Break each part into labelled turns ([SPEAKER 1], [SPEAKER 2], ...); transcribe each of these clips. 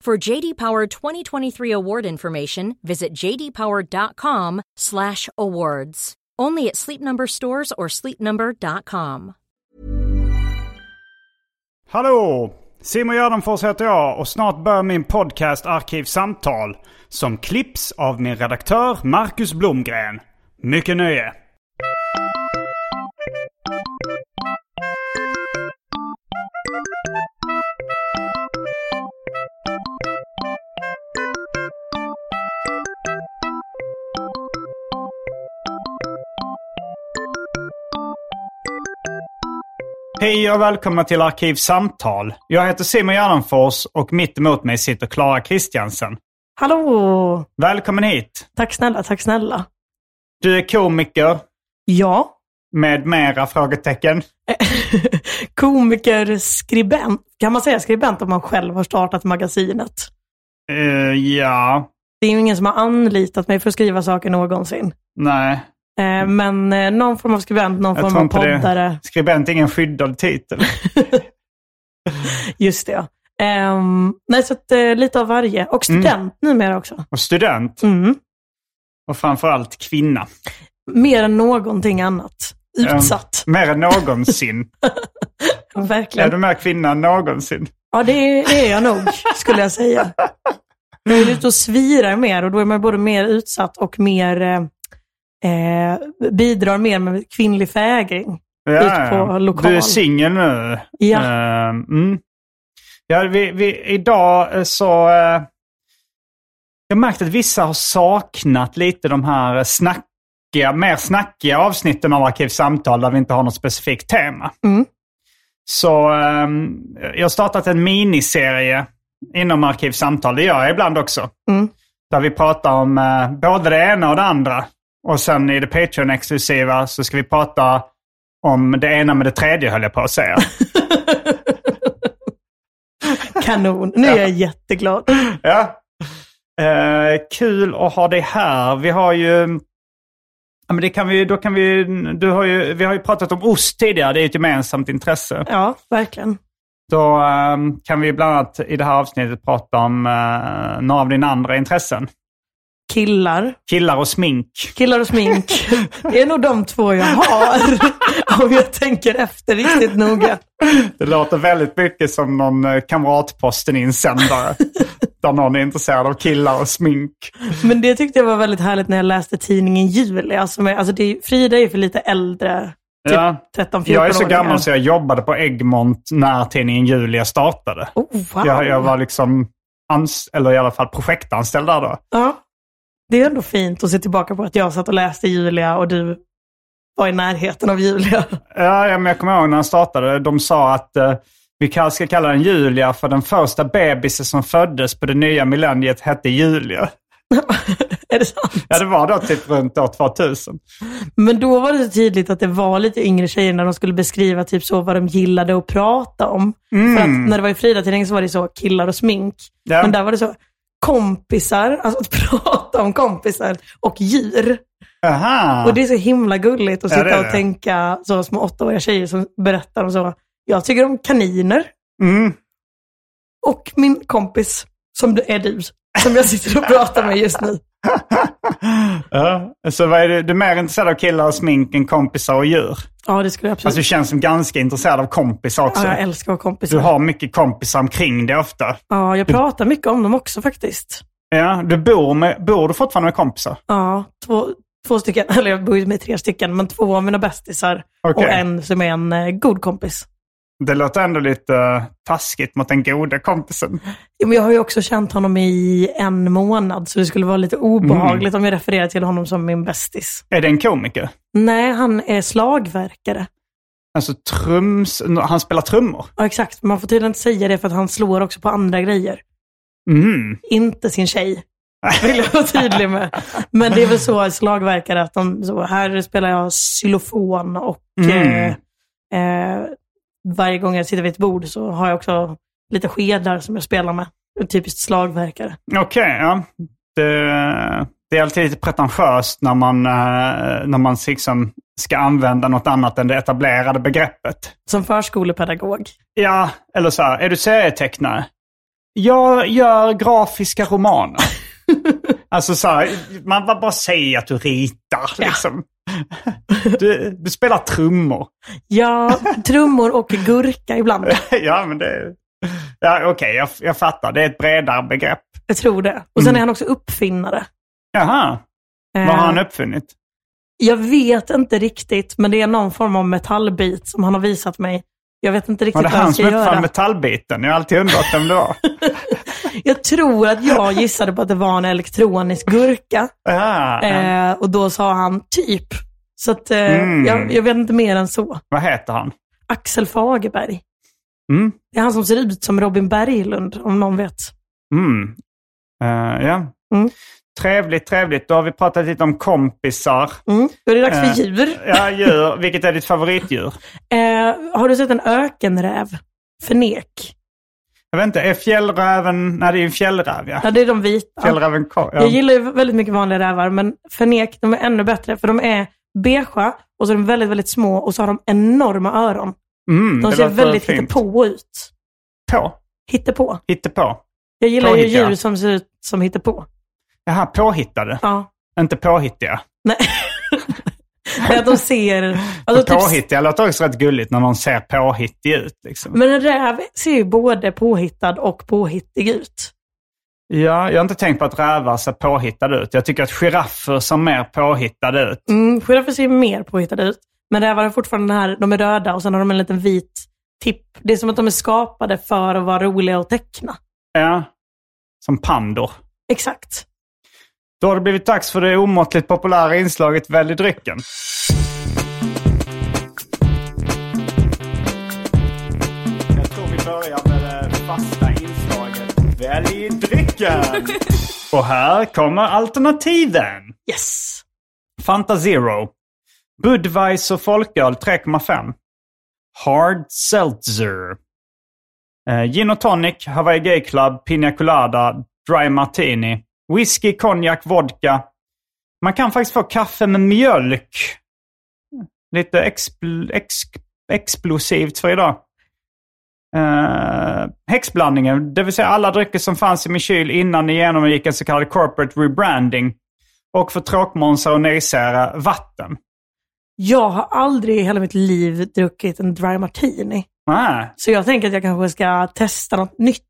[SPEAKER 1] For JD Power 2023 award information, visit jdpower.com/awards. Only at Sleep Number stores or sleepnumber.com.
[SPEAKER 2] Hallå! Simon Gärdenfors heter jag och snart börjar min podcast Arkivsamtal som klipps av min redaktör Marcus Blomgren. Mycket nöje! Hej och välkomna till Arkivsamtal. Jag heter Simon Gärdenfors och mitt emot mig sitter Klara Kristiansen.
[SPEAKER 3] Hallå!
[SPEAKER 2] Välkommen hit!
[SPEAKER 3] Tack snälla, tack snälla.
[SPEAKER 2] Du är komiker
[SPEAKER 3] Ja.
[SPEAKER 2] med mera frågetecken.
[SPEAKER 3] Komiker, skribent. Kan man säga skribent om man själv har startat magasinet?
[SPEAKER 2] Eh, ja,
[SPEAKER 3] Det är ju ingen som har anlitat mig för att skriva saker någonsin.
[SPEAKER 2] nej.
[SPEAKER 3] Eh, men eh, någon form av skribent, någon
[SPEAKER 2] Jag
[SPEAKER 3] form
[SPEAKER 2] tror
[SPEAKER 3] av
[SPEAKER 2] inte det.
[SPEAKER 3] poddare.
[SPEAKER 2] Skribent är ingen skyddad titel.
[SPEAKER 3] Just det, ja. Ehm, nej, så att, eh, lite av varje. Och student numera också.
[SPEAKER 2] Och student.
[SPEAKER 3] Mm.
[SPEAKER 2] Och framförallt kvinna.
[SPEAKER 3] Mer än någonting annat.
[SPEAKER 2] Ehm,
[SPEAKER 3] Utsatt.
[SPEAKER 2] Mer än någonsin. är
[SPEAKER 3] Verkligen.
[SPEAKER 2] du mer kvinna än någonsin?
[SPEAKER 3] Ja, det, det är jag nog, skulle jag säga. Jag är ute och svirar mer och då är man både mer utsatt och mer eh, eh, bidrar mer med kvinnlig fägring. Ut på lokal.
[SPEAKER 2] Du är singel nu.
[SPEAKER 3] Ja.
[SPEAKER 2] Ehm, mm. ja vi, vi, idag eh, så... eh, jag har märkt att vissa har saknat lite de här eh, snackiga, mer snackiga avsnitten av Arkivsamtal där vi inte har något specifikt tema.
[SPEAKER 3] Mm.
[SPEAKER 2] Så ehm, jag har startat en miniserie inom Arkivsamtal. Det gör jag ibland också.
[SPEAKER 3] Mm.
[SPEAKER 2] Där vi pratar om eh, både det ena och det andra. Och sen i det Patreon-exklusiva så ska vi prata om det ena med det tredje, höll jag på att säga.
[SPEAKER 3] Kanon. Nu är jag jätteglad.
[SPEAKER 2] ja. Eh, kul att ha dig här. Vi har ju... Ja, men det kan vi, då kan vi, du har ju, vi har ju pratat om ost tidigare, det är ett gemensamt intresse.
[SPEAKER 3] Ja, verkligen.
[SPEAKER 2] Då eh, kan vi bland annat i det här avsnittet prata om eh, några av dina andra intressen.
[SPEAKER 3] Killar.
[SPEAKER 2] Killar och smink.
[SPEAKER 3] Killar och smink. Det är nog de två jag har. Om jag tänker efter riktigt noga.
[SPEAKER 2] Det låter väldigt mycket som någon eh, Kamratposten-insändare. där någon är intresserad av killar och smink.
[SPEAKER 3] Men det tyckte jag var väldigt härligt när jag läste tidningen Julia. Alltså med, alltså det, är- Frida är ju för lite äldre. Typ
[SPEAKER 2] Ja.
[SPEAKER 3] 13-14
[SPEAKER 2] Jag är så
[SPEAKER 3] åringar.
[SPEAKER 2] gammal så jag jobbade på Egmont när tidningen Julia startade.
[SPEAKER 3] Oh, wow.
[SPEAKER 2] Jag, jag var liksom, ans- eller i alla fall projektanställd där då.
[SPEAKER 3] Ja. Det är ändå fint att se tillbaka på att jag satt och läste Julia och du var i närheten av Julia.
[SPEAKER 2] Ja, ja, men jag kommer ihåg när den startade. De sa att eh, vi kanske ska kalla den Julia för den första bebisen som föddes på det nya millenniet hette Julia.
[SPEAKER 3] är det sant?
[SPEAKER 2] Ja, det var då typ runt år 2000.
[SPEAKER 3] Men då var det så tydligt att det var lite yngre tjejer när de skulle beskriva typ så vad de gillade att prata om. För att när det var i Frida-tidningen så var det så killar och smink.
[SPEAKER 2] Ja.
[SPEAKER 3] Men där var det så kompisar, alltså att prata om kompisar och djur.
[SPEAKER 2] Aha.
[SPEAKER 3] Och det är så himla gulligt att
[SPEAKER 2] Ja,
[SPEAKER 3] sitta
[SPEAKER 2] det är det.
[SPEAKER 3] och tänka så små åttaåriga tjejer som berättar om så. Jag tycker om kaniner
[SPEAKER 2] Mm.
[SPEAKER 3] och min kompis som du- är du, som jag sitter och pratar med just nu.
[SPEAKER 2] Ja, så vad är du, du är mer intresserad av killar och smink än kompisar och djur?
[SPEAKER 3] Ja, det skulle jag
[SPEAKER 2] Alltså
[SPEAKER 3] absolut.
[SPEAKER 2] du känns som ganska intresserad av kompisar också.
[SPEAKER 3] ja, jag älskar att ha
[SPEAKER 2] du
[SPEAKER 3] kompisar.
[SPEAKER 2] har mycket kompisar omkring dig ofta.
[SPEAKER 3] Ja, jag pratar mycket om dem också faktiskt.
[SPEAKER 2] Ja, du bor, med, bor du fortfarande med kompisar?
[SPEAKER 3] Ja, två, två stycken, eller jag bor ju med tre stycken, men två av mina bästisar
[SPEAKER 2] Okej.
[SPEAKER 3] och en som är en eh, god kompis.
[SPEAKER 2] Det låter ändå lite eh, taskigt mot den goda kompisen.
[SPEAKER 3] Ja, men jag har ju också känt honom i en månad, så det skulle vara lite obehagligt
[SPEAKER 2] Mm.
[SPEAKER 3] om jag refererar till honom som min bästis.
[SPEAKER 2] Är det en komiker?
[SPEAKER 3] Nej, han är slagverkare.
[SPEAKER 2] Alltså trums... Han spelar trummor?
[SPEAKER 3] Ja, exakt. Man får tydligen inte säga det för att han slår också på andra grejer.
[SPEAKER 2] Mm.
[SPEAKER 3] Inte sin tjej, vill jag vara tydlig med. Men det är väl så slagverkare, att de, så här spelar jag xylofon och
[SPEAKER 2] Mm.
[SPEAKER 3] eh, eh, varje gång jag sitter vid ett bord så har jag också lite skedar som jag spelar med. Typiskt slagverkare.
[SPEAKER 2] Okej, ja. Det, det är alltid lite pretentiöst när man, eh, när man liksom ska använda något annat än det etablerade begreppet.
[SPEAKER 3] Som förskolepedagog.
[SPEAKER 2] Ja, eller så här, är du serietecknare? Jag gör grafiska romaner. alltså så här, man bara bara säger att du ritar. Liksom. Du, du spelar trummor.
[SPEAKER 3] Ja, trummor och gurka ibland.
[SPEAKER 2] ja, men det... Ja, Okej, jag, jag fattar. Det är ett bredare begrepp.
[SPEAKER 3] Jag tror det. Och sen är han också uppfinnare.
[SPEAKER 2] Jaha,
[SPEAKER 3] Eh,
[SPEAKER 2] vad har Mm. han uppfunnit?
[SPEAKER 3] Jag vet inte riktigt, men det är någon form av metallbit som han har visat mig. Jag vet inte
[SPEAKER 2] Var
[SPEAKER 3] riktigt
[SPEAKER 2] det
[SPEAKER 3] vad jag
[SPEAKER 2] han
[SPEAKER 3] ska
[SPEAKER 2] som uppfann
[SPEAKER 3] göra.
[SPEAKER 2] metallbiten? Jag har alltid undrat vem det var.
[SPEAKER 3] Jag tror att jag gissade på att det var en elektronisk gurka.
[SPEAKER 2] Ah,
[SPEAKER 3] Eh, och då sa han typ. Så att, eh,
[SPEAKER 2] Mm.
[SPEAKER 3] jag, jag vet inte mer än så.
[SPEAKER 2] Vad heter han?
[SPEAKER 3] Axel Fagerberg.
[SPEAKER 2] Mm,
[SPEAKER 3] Det är han som ser ut som Robin Berglund, om någon vet.
[SPEAKER 2] mm. Eh, ja.
[SPEAKER 3] Mm.
[SPEAKER 2] Trevligt, trevligt. Då har vi pratat lite om kompisar.
[SPEAKER 3] Mm. Då är det dags för
[SPEAKER 2] Eh,
[SPEAKER 3] djur.
[SPEAKER 2] Ja, djur. Vilket är ditt favoritdjur?
[SPEAKER 3] Eh, har du sett en ökenräv? Förnek.
[SPEAKER 2] Jag vet inte, är fjällräven... Nej, det är ju en fjällräv, ja.
[SPEAKER 3] Ja, det är de vita.
[SPEAKER 2] Fjällräven kor-
[SPEAKER 3] Jag
[SPEAKER 2] ja.
[SPEAKER 3] gillar ju väldigt mycket vanliga rävar, men förnek, de är ännu bättre. För de är beigea och så är de väldigt, väldigt små och så har de enorma öron.
[SPEAKER 2] mm,
[SPEAKER 3] De
[SPEAKER 2] det
[SPEAKER 3] ser
[SPEAKER 2] låter
[SPEAKER 3] väldigt
[SPEAKER 2] fint.
[SPEAKER 3] hittepå ut.
[SPEAKER 2] På?
[SPEAKER 3] Hittepå.
[SPEAKER 2] Hittepå?
[SPEAKER 3] Jag gillar ju
[SPEAKER 2] Påhittiga.
[SPEAKER 3] djur som ser ut som hittepå.
[SPEAKER 2] Jaha, påhittade.
[SPEAKER 3] Ja.
[SPEAKER 2] Inte påhittiga.
[SPEAKER 3] Nej. Nej, att de ser...
[SPEAKER 2] För
[SPEAKER 3] Alltså typ,
[SPEAKER 2] påhittiga låter också rätt gulligt när någon ser påhittig ut. Liksom.
[SPEAKER 3] men en räv ser ju både påhittad och påhittig ut.
[SPEAKER 2] Ja, jag har inte tänkt på att rävar ser påhittade ut. Jag tycker att giraffer ser mer påhittade ut.
[SPEAKER 3] Mm, Giraffer ser ju mer påhittade ut. Men rävar är fortfarande den här, de är röda och sen har de en liten vit tipp. Det är som att de är skapade för att vara roliga att teckna.
[SPEAKER 2] Ja, som pandor.
[SPEAKER 3] Exakt.
[SPEAKER 2] Då har det blivit dags för det omåttligt populära inslaget Välj drycken. Jag tror vi börjar med det fasta inslaget Välj drycken! Och här kommer alternativen.
[SPEAKER 3] Yes.
[SPEAKER 2] Fanta Zero. Budweiser folköl 3,5. Hard Seltzer. Eh, gin och tonic, Hawaii Gay Club, Pina Colada, Dry Martini. Whisky, konjak, vodka. Man kan faktiskt få kaffe med mjölk. Lite expl- ex- explosivt för idag. Eh, häxblandningen, det vill säga alla drycker som fanns i min kyl innan ni genomgick en så kallad corporate rebranding. Och för tråkmånsar och nejsära, vatten.
[SPEAKER 3] Jag har aldrig i hela mitt liv druckit en dry martini.
[SPEAKER 2] Ah.
[SPEAKER 3] Så jag tänker att jag kanske ska testa något nytt.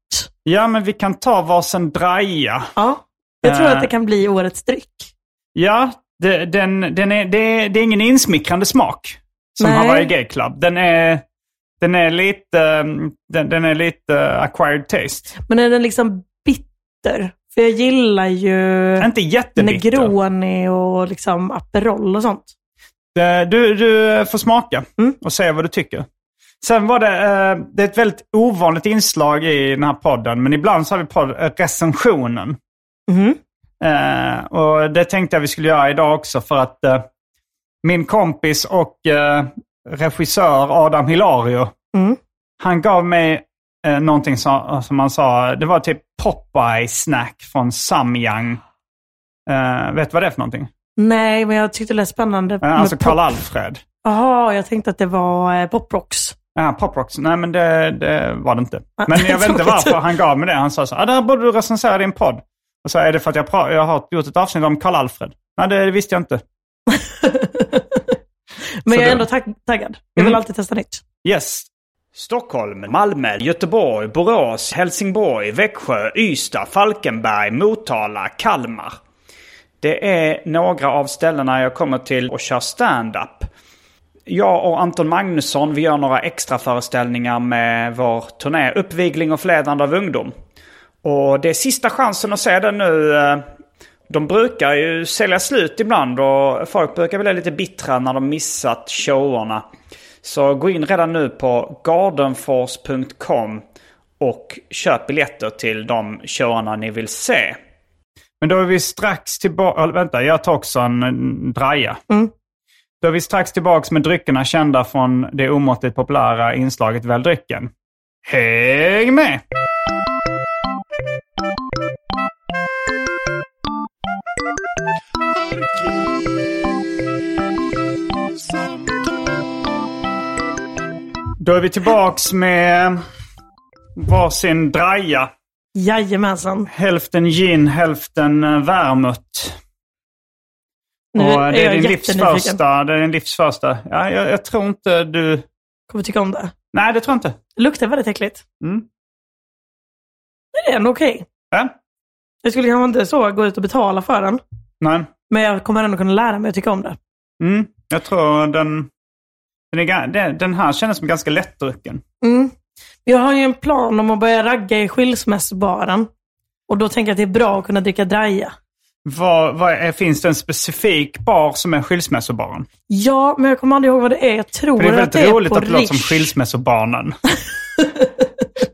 [SPEAKER 2] Ja, men vi kan ta varsin draja.
[SPEAKER 3] Ja. Jag tror
[SPEAKER 2] Eh.
[SPEAKER 3] att det kan bli årets dryck.
[SPEAKER 2] Ja, det, den, den är, det, är- det är ingen insmickrande smak som
[SPEAKER 3] Nej.
[SPEAKER 2] Hawaii Gay Club. Den är, den är lite, mm, den, den är lite acquired taste.
[SPEAKER 3] Men är den liksom bitter? För jag gillar ju
[SPEAKER 2] Inte jättebitter.
[SPEAKER 3] Negroni och liksom Aperol och sånt.
[SPEAKER 2] Det- Eh, Du, du får smaka
[SPEAKER 3] Mm.
[SPEAKER 2] och säga vad du tycker. Sen var det, eh, det är ett väldigt ovanligt inslag i den här podden, men ibland så har vi podd, eh, recensionen.
[SPEAKER 3] Mhm.
[SPEAKER 2] Eh, och det tänkte jag vi skulle göra idag också för att eh, min kompis och eh, regissör Adam Hilario,
[SPEAKER 3] Mm.
[SPEAKER 2] han gav mig eh, någonting som, som han sa, det var typ Popeye-snack från Samyang. Eh, vet du vad det är för någonting?
[SPEAKER 3] Nej, men jag tyckte det lät spännande.
[SPEAKER 2] Eh,
[SPEAKER 3] med
[SPEAKER 2] alltså
[SPEAKER 3] pop-
[SPEAKER 2] Karl-Alfred.
[SPEAKER 3] Jaha, jag tänkte att det var eh, poprocks.
[SPEAKER 2] Ja, poprocks. Nej, men det, det var det inte.
[SPEAKER 3] Ah,
[SPEAKER 2] Men jag vet inte
[SPEAKER 3] tråkigt.
[SPEAKER 2] varför han gav mig det. Han sa så här, ah, det här borde du recensera i din podd. Och så är det för att jag, pra- jag har gjort ett avsnitt om Karl-Alfred. Nej, det visste jag inte.
[SPEAKER 3] Men
[SPEAKER 2] Så
[SPEAKER 3] jag är
[SPEAKER 2] det-
[SPEAKER 3] ändå tag- taggad. Jag vill
[SPEAKER 2] Mm.
[SPEAKER 3] alltid testa nytt.
[SPEAKER 2] Yes. Stockholm, Malmö, Göteborg, Borås, Helsingborg, Växjö, Ystad, Falkenberg, Motala, Kalmar. Det är några av ställena jag kommer till och kör stand-up. Jag och Anton Magnusson vi gör några extra föreställningar med vår turné Uppvigling och flädande av ungdom. Och det är sista chansen att se den nu. eh, De brukar ju sälja slut ibland och folk brukar bli lite bittra när de missat showerna. Så gå in redan nu på gardenfors.com och köp biljetter till de showerna ni vill se. Men då är vi strax tillbaka... Vänta, jag tar också en en draja. Då är vi strax tillbaka med dryckerna kända från det omåttligt populära inslaget Väl drycken. Häng med! Då är vi tillbaks med varsin draja.
[SPEAKER 3] Jajamensan.
[SPEAKER 2] Hälften gin, hälften eh, vermouth.
[SPEAKER 3] Nu
[SPEAKER 2] Och eh, det är, din livs
[SPEAKER 3] jättenyfiken.
[SPEAKER 2] första, det är din livs första. Ja, jag, jag tror inte du...
[SPEAKER 3] Kommer tycka om det.
[SPEAKER 2] Nej, det tror jag inte.
[SPEAKER 3] Det luktar väldigt äckligt.
[SPEAKER 2] Mm.
[SPEAKER 3] Men det är ändå okej.
[SPEAKER 2] Ja?
[SPEAKER 3] Jag skulle kanske inte så gå ut och betala för den.
[SPEAKER 2] Nej.
[SPEAKER 3] Men jag kommer ändå kunna lära mig att tycka om det.
[SPEAKER 2] Mm. Jag tror den... Den, är, ga- den- den här kändes som ganska lättdrucken.
[SPEAKER 3] Mm. Jag har ju en plan om att börja ragga i skilsmässobaren. Och då tänker jag att det är bra att kunna dricka draja.
[SPEAKER 2] Vad, vad är, finns det en specifik bar som är skilsmässobaren?
[SPEAKER 3] Ja, men jag kommer aldrig ihåg vad det är. Jag tror
[SPEAKER 2] För det är
[SPEAKER 3] att det
[SPEAKER 2] väldigt
[SPEAKER 3] är
[SPEAKER 2] roligt
[SPEAKER 3] på
[SPEAKER 2] att det låter som
[SPEAKER 3] Rish.
[SPEAKER 2] skilsmässobarnen.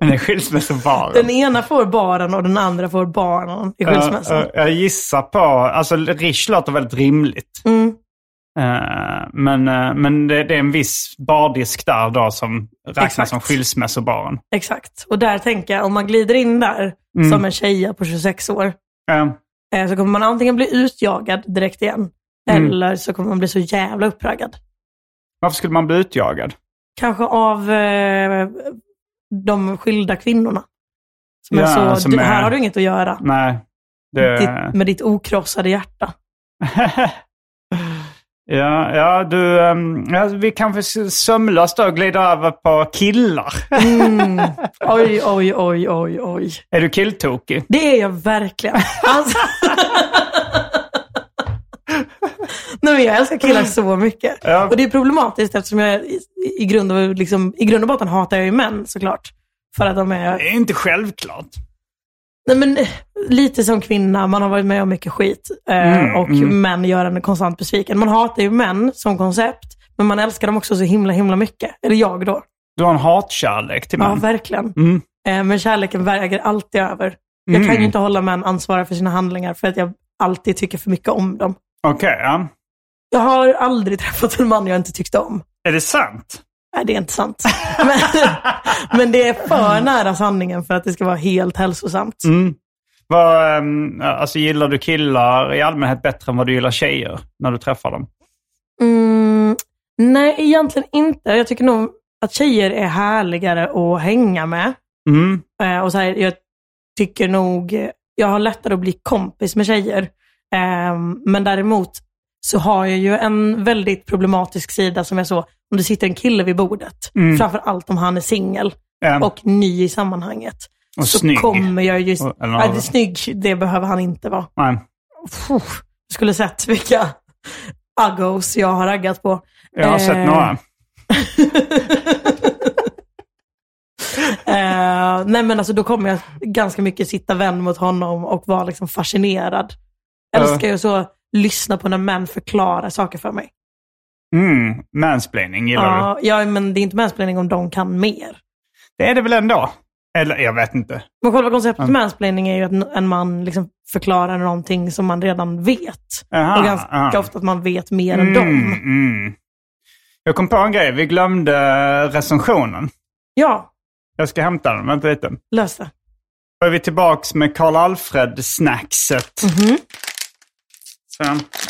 [SPEAKER 2] Men det är skilsmässobaren.
[SPEAKER 3] Den ena får baren och den andra får barnen i skilsmässan.
[SPEAKER 2] Eh, eh, jag gissar på... Alltså, Rish låter väldigt rimligt.
[SPEAKER 3] Mm.
[SPEAKER 2] Eh, men eh, men det, det är en viss bardisk där då som räknas
[SPEAKER 3] Exakt.
[SPEAKER 2] som skilsmässobaren.
[SPEAKER 3] Exakt. Och där tänker jag, om man glider in där
[SPEAKER 2] Mm.
[SPEAKER 3] som en tjeja på 26 år,
[SPEAKER 2] Eh,
[SPEAKER 3] eh, så kommer man antingen bli utjagad direkt igen,
[SPEAKER 2] Mm.
[SPEAKER 3] eller så kommer man bli så jävla uppraggad.
[SPEAKER 2] varför skulle man bli utjagad?
[SPEAKER 3] Kanske av eh, de skilda kvinnorna. Som
[SPEAKER 2] Ja,
[SPEAKER 3] är så,
[SPEAKER 2] som
[SPEAKER 3] du,
[SPEAKER 2] är-
[SPEAKER 3] här har du inget att göra.
[SPEAKER 2] Nej. Det...
[SPEAKER 3] Ditt, med ditt okrossade hjärta.
[SPEAKER 2] ja, ja, du, ehm, ja, vi kanske s- sömlöst då glider över på killar.
[SPEAKER 3] Mm. Oj, oj, oj, oj, oj.
[SPEAKER 2] Är du killtokig?
[SPEAKER 3] Det är jag verkligen. Alltså... Nej, men jag älskar killar så mycket.
[SPEAKER 2] Ja.
[SPEAKER 3] Och det är problematiskt eftersom jag i, i, grund och, liksom, i grund och botten hatar jag ju män såklart. För att de är,
[SPEAKER 2] Det är inte självklart.
[SPEAKER 3] nej men eh, lite som kvinna, man har varit med om mycket skit. Eh,
[SPEAKER 2] Mm,
[SPEAKER 3] och
[SPEAKER 2] mm.
[SPEAKER 3] män gör en konstant besviken. Man hatar ju män som koncept, men man älskar dem också så himla, himla mycket. Eller jag då.
[SPEAKER 2] Du har en hatkärlek till
[SPEAKER 3] Ja,
[SPEAKER 2] män.
[SPEAKER 3] verkligen.
[SPEAKER 2] Mm.
[SPEAKER 3] Eh, men kärleken väger alltid över. Jag kan
[SPEAKER 2] Mm.
[SPEAKER 3] ju inte hålla män ansvariga för sina handlingar för att jag alltid tycker för mycket om dem.
[SPEAKER 2] Okej, ja.
[SPEAKER 3] Jag har aldrig träffat en man jag inte tyckte om.
[SPEAKER 2] Är det sant?
[SPEAKER 3] Nej, det är inte sant. Men, men det är för nära sanningen för att det ska vara helt hälsosamt.
[SPEAKER 2] Mm. Vad, ehm, alltså, gillar du killar i allmänhet bättre än vad du gillar tjejer när du träffar dem?
[SPEAKER 3] Mm, nej, egentligen inte. Jag tycker nog att tjejer är härligare att hänga med.
[SPEAKER 2] Mm.
[SPEAKER 3] Eh, och så här, jag tycker nog, jag har lättare att bli kompis med tjejer. Eh, men däremot så har jag ju en väldigt problematisk sida som är så, om det sitter en kille vid bordet,
[SPEAKER 2] Mm.
[SPEAKER 3] framför allt om han är singel
[SPEAKER 2] Ehm,
[SPEAKER 3] och ny i sammanhanget,
[SPEAKER 2] och
[SPEAKER 3] så
[SPEAKER 2] snygg.
[SPEAKER 3] kommer jag ju...
[SPEAKER 2] Och- eller-
[SPEAKER 3] Nej, det är snygg, det behöver han inte vara.
[SPEAKER 2] Nej.
[SPEAKER 3] Puh, jag skulle sett vilka uggos jag har raggat på.
[SPEAKER 2] Jag har sett
[SPEAKER 3] Eh,
[SPEAKER 2] några.
[SPEAKER 3] Eh, nej men alltså då kommer jag ganska mycket sitta vän mot honom och vara liksom fascinerad. Älskar ju så lyssna på när män förklarar saker för mig.
[SPEAKER 2] Mm. Mansplaining gillar du.
[SPEAKER 3] Ja, ja, men det är inte mansplaining om de kan mer.
[SPEAKER 2] Det är det väl ändå? Eller jag vet inte.
[SPEAKER 3] Men själva konceptet mansplaining är ju att n- en man liksom förklarar någonting som man redan vet.
[SPEAKER 2] Aha,
[SPEAKER 3] och ganska
[SPEAKER 2] aha.
[SPEAKER 3] ofta att man vet mer än dem.
[SPEAKER 2] mm. Jag kom på en grej. Vi glömde recensionen.
[SPEAKER 3] Ja,
[SPEAKER 2] Jag ska hämta den. Vänta lite.
[SPEAKER 3] lös det.
[SPEAKER 2] Då är vi tillbaks med Karl Alfred-snackset.
[SPEAKER 3] Mhm.
[SPEAKER 2] Så,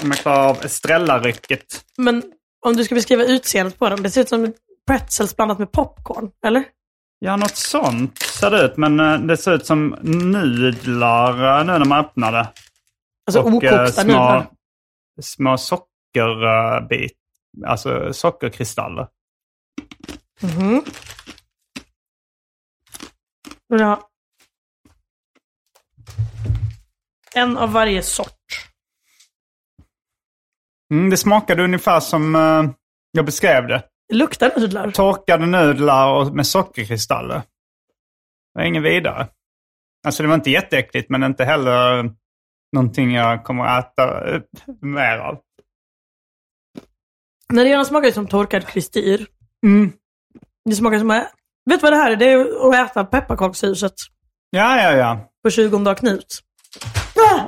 [SPEAKER 2] om jag klarar av Estrella-rycket.
[SPEAKER 3] Men om du ska beskriva utseendet på den, det ser ut som pretzels blandat med popcorn, eller?
[SPEAKER 2] Ja, något sånt ser det ut. Men eh, det ser ut som nudlar eh, nu när man öppnar det.
[SPEAKER 3] Alltså
[SPEAKER 2] Och, eh,
[SPEAKER 3] okokta
[SPEAKER 2] små,
[SPEAKER 3] nudlar.
[SPEAKER 2] små eh, sockerbit. Alltså sockerkristaller.
[SPEAKER 3] Mhm. Vill du ha? En av varje sort.
[SPEAKER 2] Mm, det smakade ungefär som eh, jag beskrev det.
[SPEAKER 3] Det luktar nudlar.
[SPEAKER 2] Torkade nudlar och med sockerkristaller. Det var inget vidare. Alltså det var inte jätteäckligt men inte heller någonting jag kommer att äta eh, mer av.
[SPEAKER 3] När det gärna smakar som torkad kristir.
[SPEAKER 2] Mm.
[SPEAKER 3] Det smakar som... Vet du vad det här är? Det är att äta pepparkakshuset
[SPEAKER 2] Ja, ja, ja.
[SPEAKER 3] på 20 dag Knut.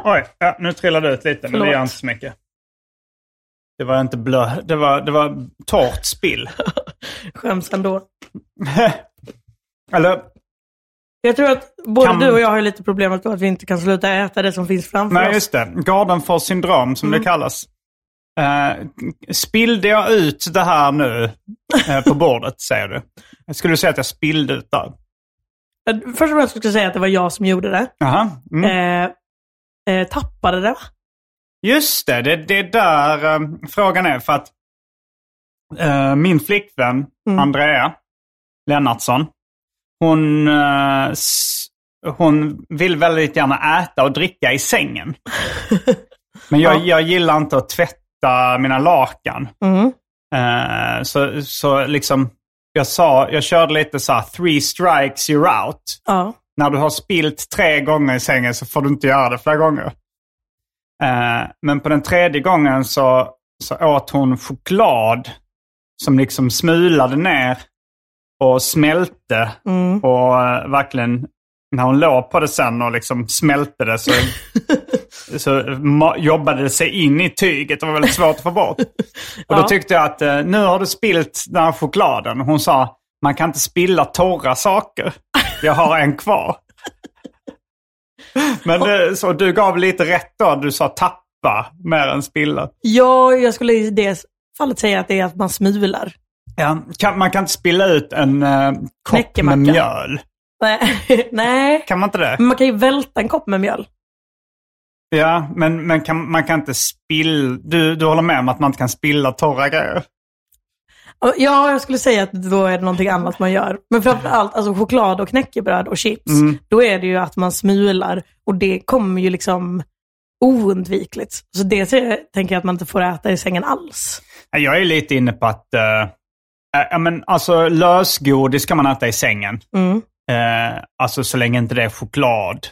[SPEAKER 2] Oj, ja, nu trillade det ut lite, men det
[SPEAKER 3] Förlåt.
[SPEAKER 2] gör inte så mycket. Det var inte blö, det var, det var torrt spill.
[SPEAKER 3] Skäms ändå.
[SPEAKER 2] Eller,
[SPEAKER 3] Jag tror att både
[SPEAKER 2] Kan-
[SPEAKER 3] du och jag har lite problemet då att vi inte kan sluta äta det som finns framför
[SPEAKER 2] nej
[SPEAKER 3] oss.
[SPEAKER 2] just det. Gardenfors syndrom, som det kallas. Uh, spillde jag ut det här nu eh, på bordet, säger du? Jag skulle säga att jag spillde ut där.
[SPEAKER 3] Jag- Först och främst skulle jag säga att det var jag som gjorde det.
[SPEAKER 2] Jaha. Mm.
[SPEAKER 3] Eh, eh, tappade det. va?
[SPEAKER 2] Just det, det, det är där eh, frågan är. För att eh, min flickvän Andrea Lennartsson, hon, eh, s- hon vill väldigt gärna äta och dricka i sängen. Men jag, jag gillar inte att tvätta mina lakan.
[SPEAKER 3] Mm.
[SPEAKER 2] Eh, så, så liksom, jag sa, jag körde lite så här, three strikes you're out
[SPEAKER 3] Ja.
[SPEAKER 2] när du har spilt tre gånger i sängen så får du inte göra det flera gånger. Eh, men på den tredje gången så, så åt hon choklad som liksom smulade ner och smälte. Och eh, verkligen, när hon låg på det sen och liksom smälte det så, så ma- jobbade det sig in i tyget. Det var väldigt svårt att få bort. Och då
[SPEAKER 3] Ja.
[SPEAKER 2] tyckte jag att eh, nu har du spilt den här chokladen. Hon sa, man kan inte spilla torra saker. Jag har en kvar. Men eh, så du gav lite rätt då. Du sa tappa mer än spilla.
[SPEAKER 3] ja, jag skulle i det fallet säga att det är att man smular.
[SPEAKER 2] Ja, kan, man kan inte spilla ut en eh, kopp
[SPEAKER 3] Knäckemacka. Mm.
[SPEAKER 2] med mjöl.
[SPEAKER 3] Nej. Nej.
[SPEAKER 2] Kan man inte det?
[SPEAKER 3] Men man kan ju välta en kopp med mjöl.
[SPEAKER 2] Ja, men, men kan, man kan inte spilla... Du, du håller med om att man inte kan spilla torra grejer?
[SPEAKER 3] Ja, jag skulle säga att då är det någonting annat man gör. Men framförallt alltså choklad och knäckebröd och chips. Då är det ju att man smular och det kommer ju liksom oundvikligt. Så det ser- tänker jag att man inte får äta i sängen alls.
[SPEAKER 2] Nej, Jag är lite inne på att... eh, eh, ja, men alltså lösgodis kan man äta i sängen.
[SPEAKER 3] Mm.
[SPEAKER 2] Eh, alltså så länge inte det är choklad.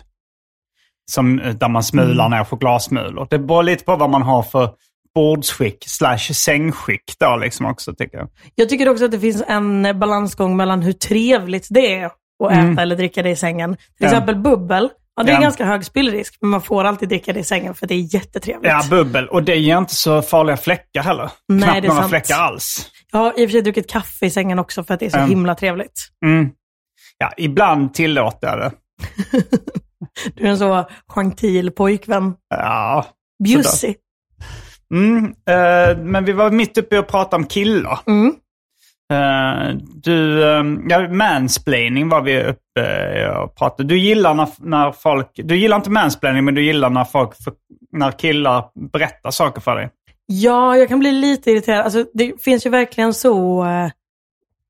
[SPEAKER 2] Som, eh, där man smular
[SPEAKER 3] Mm.
[SPEAKER 2] ner chokladsmulor. Det beror lite på vad man har för bordsskick slash sängskick då liksom också tycker jag.
[SPEAKER 3] Jag tycker också att det finns en eh, balansgång mellan hur trevligt det är att äta eller dricka det i sängen. Till
[SPEAKER 2] Mm. Ja.
[SPEAKER 3] exempel bubbel. Ja, det är
[SPEAKER 2] Ja.
[SPEAKER 3] ganska hög spillrisk, men man får alltid dricka det i sängen för det är jättetrevligt.
[SPEAKER 2] Ja, bubbel. Och det ger inte så farliga fläckar heller.
[SPEAKER 3] Nej,
[SPEAKER 2] Knappt
[SPEAKER 3] det är
[SPEAKER 2] några
[SPEAKER 3] sant.
[SPEAKER 2] fläckar alls.
[SPEAKER 3] Jag har i och för sig druckit kaffe i sängen också för att det är så
[SPEAKER 2] Mm.
[SPEAKER 3] himla trevligt.
[SPEAKER 2] Mm. Ja, ibland tillåter jag det.
[SPEAKER 3] Du är en så gentil pojkvän.
[SPEAKER 2] Ja.
[SPEAKER 3] Bjussig.
[SPEAKER 2] Mm, eh, men vi var mitt uppe i att prata om killar.
[SPEAKER 3] Mm.
[SPEAKER 2] Eh, du, eh, ja, mansplaining var vi uppe eh, och pratade. Du gillar när, när folk, du gillar inte mansplaining men du gillar när folk, när killar berättar saker för dig.
[SPEAKER 3] Ja, jag kan bli lite irriterad. Alltså, det finns ju verkligen så... eh,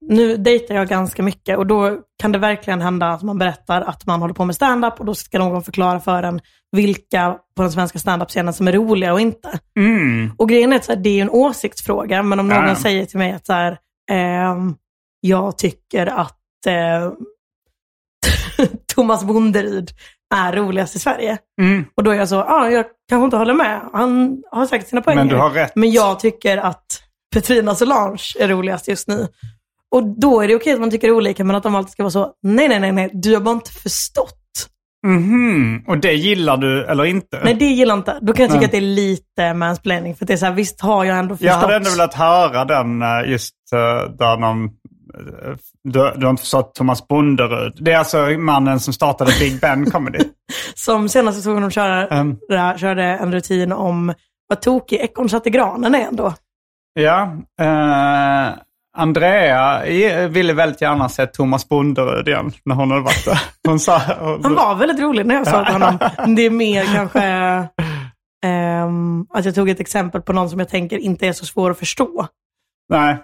[SPEAKER 3] Nu dejtar jag ganska mycket och då kan det verkligen hända att man berättar att man håller på med stand-up och då ska någon förklara för en vilka på den svenska stand-up-scenen som är roliga och inte.
[SPEAKER 2] Mm.
[SPEAKER 3] Och grejen är att så här, det är ju en åsiktsfråga, men om någon
[SPEAKER 2] Ja, ja.
[SPEAKER 3] säger till mig att så här, ehm, jag tycker att eh, Thomas Bonderyd är roligast i Sverige.
[SPEAKER 2] Mm.
[SPEAKER 3] Och då är jag så, ah, jag kanske inte håller med. Han har säkert sina poänger.
[SPEAKER 2] Men du har rätt.
[SPEAKER 3] Men jag tycker att Petrina Solange är roligast just nu. Och då är det okej att man tycker olika, men att de alltid ska vara så, nej, nej, nej, nej, du har bara inte förstått.
[SPEAKER 2] Mhm. Och det gillar du eller inte?
[SPEAKER 3] Nej, det gillar jag inte. Då kan jag tycka
[SPEAKER 2] Nej.
[SPEAKER 3] att det är lite mansplaining, för att det är så här, visst har jag ändå förstått.
[SPEAKER 2] jag hade ändå velat höra den eh, just eh, där någon, eh, du, du har inte förstått Thomas Bonderud. Det är alltså mannen som startade Big Ben Comedy.
[SPEAKER 3] Som senaste såg de köra,
[SPEAKER 2] Ehm.
[SPEAKER 3] där, körde en rutin om vad tokig ekorren satte granen är ändå.
[SPEAKER 2] Ja, eh, Andrea i- ville väldigt gärna se Thomas Bonderud igen när hon hade varit där. Hon sa,
[SPEAKER 3] Han var väldigt rolig när jag sa till honom. Det är mer kanske ehm, att jag tog ett exempel på någon som jag tänker inte är så svår att förstå.
[SPEAKER 2] Nej.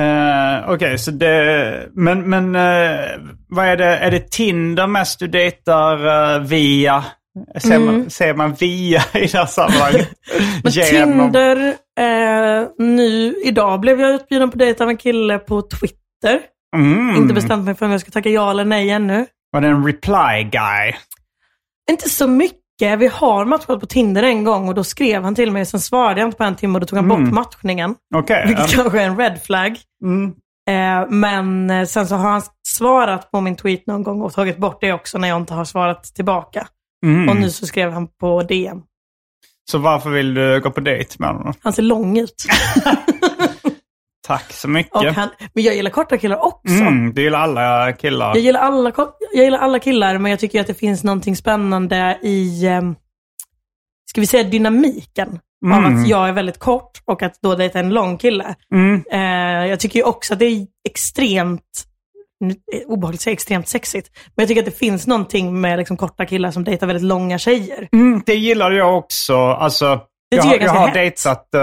[SPEAKER 2] Eh, Okej, så det... Men, men eh, vad är det? Är det Tinder mest du dejtar eh, via? Ser, man, ser man via i det här sammanhanget?
[SPEAKER 3] Mm. Men Tinder, eh, nu, idag blev jag utbjuden på dejt av en kille på Twitter.
[SPEAKER 2] Mm.
[SPEAKER 3] Inte bestämt mig för om jag ska tacka ja eller nej ännu.
[SPEAKER 2] Var det en reply guy?
[SPEAKER 3] Inte så mycket. Vi har matchat på Tinder en gång och då skrev han till mig. Sen svarade jag inte på en timme och då tog han bort matchningen.
[SPEAKER 2] Okej. eh,
[SPEAKER 3] Vilket kanske är en red flag.
[SPEAKER 2] Mm.
[SPEAKER 3] Eh, men eh, sen så har han svarat på min tweet någon gång och tagit bort det också när jag inte har svarat tillbaka.
[SPEAKER 2] Mm.
[SPEAKER 3] Och nu så skrev han på DM.
[SPEAKER 2] Så varför vill du gå på dejt med honom?
[SPEAKER 3] Han ser lång ut.
[SPEAKER 2] Tack så
[SPEAKER 3] Och
[SPEAKER 2] mycket.
[SPEAKER 3] han, men jag gillar korta killar också.
[SPEAKER 2] Mm, du gillar alla killar.
[SPEAKER 3] Jag gillar, alla, ko- jag gillar alla killar, men jag tycker att det finns någonting spännande i, ehm, ska vi säga dynamiken, av
[SPEAKER 2] Mm.
[SPEAKER 3] att jag är väldigt kort och att då dejta en lång kille.
[SPEAKER 2] Mm.
[SPEAKER 3] Eh, jag tycker ju också att det är extremt, nu är det obehagligt att säga extremt sexigt, men jag tycker att det finns någonting med liksom korta killar som dejtar väldigt långa tjejer.
[SPEAKER 2] Mm, det gillar jag också. Alltså,
[SPEAKER 3] Det
[SPEAKER 2] jag,
[SPEAKER 3] tycker
[SPEAKER 2] har- jag
[SPEAKER 3] jag är ganska
[SPEAKER 2] har
[SPEAKER 3] hett.
[SPEAKER 2] dejtat, eh,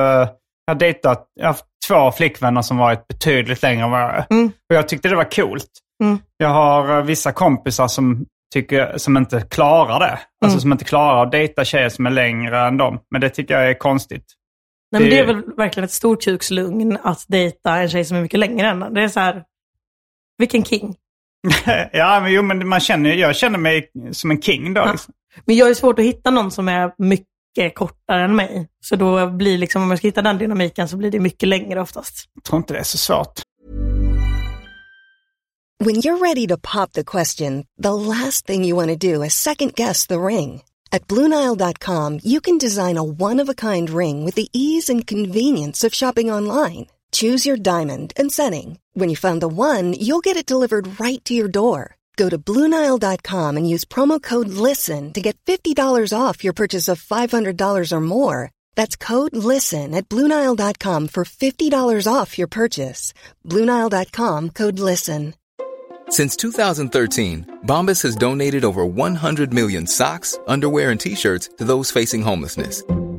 [SPEAKER 2] jag har dejtat, jag har haft två flickvänner som varit betydligt längre än vad jag är.
[SPEAKER 3] Mm.
[SPEAKER 2] Och jag tyckte det var coolt.
[SPEAKER 3] Mm.
[SPEAKER 2] Jag har eh, vissa kompisar som, tycker, som inte klarar det. Alltså
[SPEAKER 3] Mm.
[SPEAKER 2] som inte klarar att dejta tjejer som är längre än dem. Men det tycker jag är konstigt.
[SPEAKER 3] Nej, men
[SPEAKER 2] Det-
[SPEAKER 3] det är väl verkligen ett storkukslugn att dejta en tjej som är mycket längre än en. Det är så här, vilken king.
[SPEAKER 2] ja, men, jo, men man känner, ju- jag känner mig som en king då. Liksom.
[SPEAKER 3] Men jag är svårt att hitta någon som är mycket kortare än mig. Så då blir liksom, om jag ska hitta den dynamiken så blir det mycket längre oftast.
[SPEAKER 2] Jag tror inte det är så svårt.
[SPEAKER 4] When you're ready to pop the question, the last thing you want to do is second guess the ring. At Bluenile.com, you can design a one of a kind ring with the ease and convenience of shopping online. Choose your diamond and setting. When you find the one, you'll get it delivered right to your door. Go to Bluenile.com and use promo code LISTEN to get $50 off your purchase of $500 or more. That's code LISTEN at Bluenile.com for $50 off your purchase. Bluenile.com code LISTEN.
[SPEAKER 5] Since 2013, Bombas has donated over 100 million socks, underwear, and t shirts to those facing homelessness.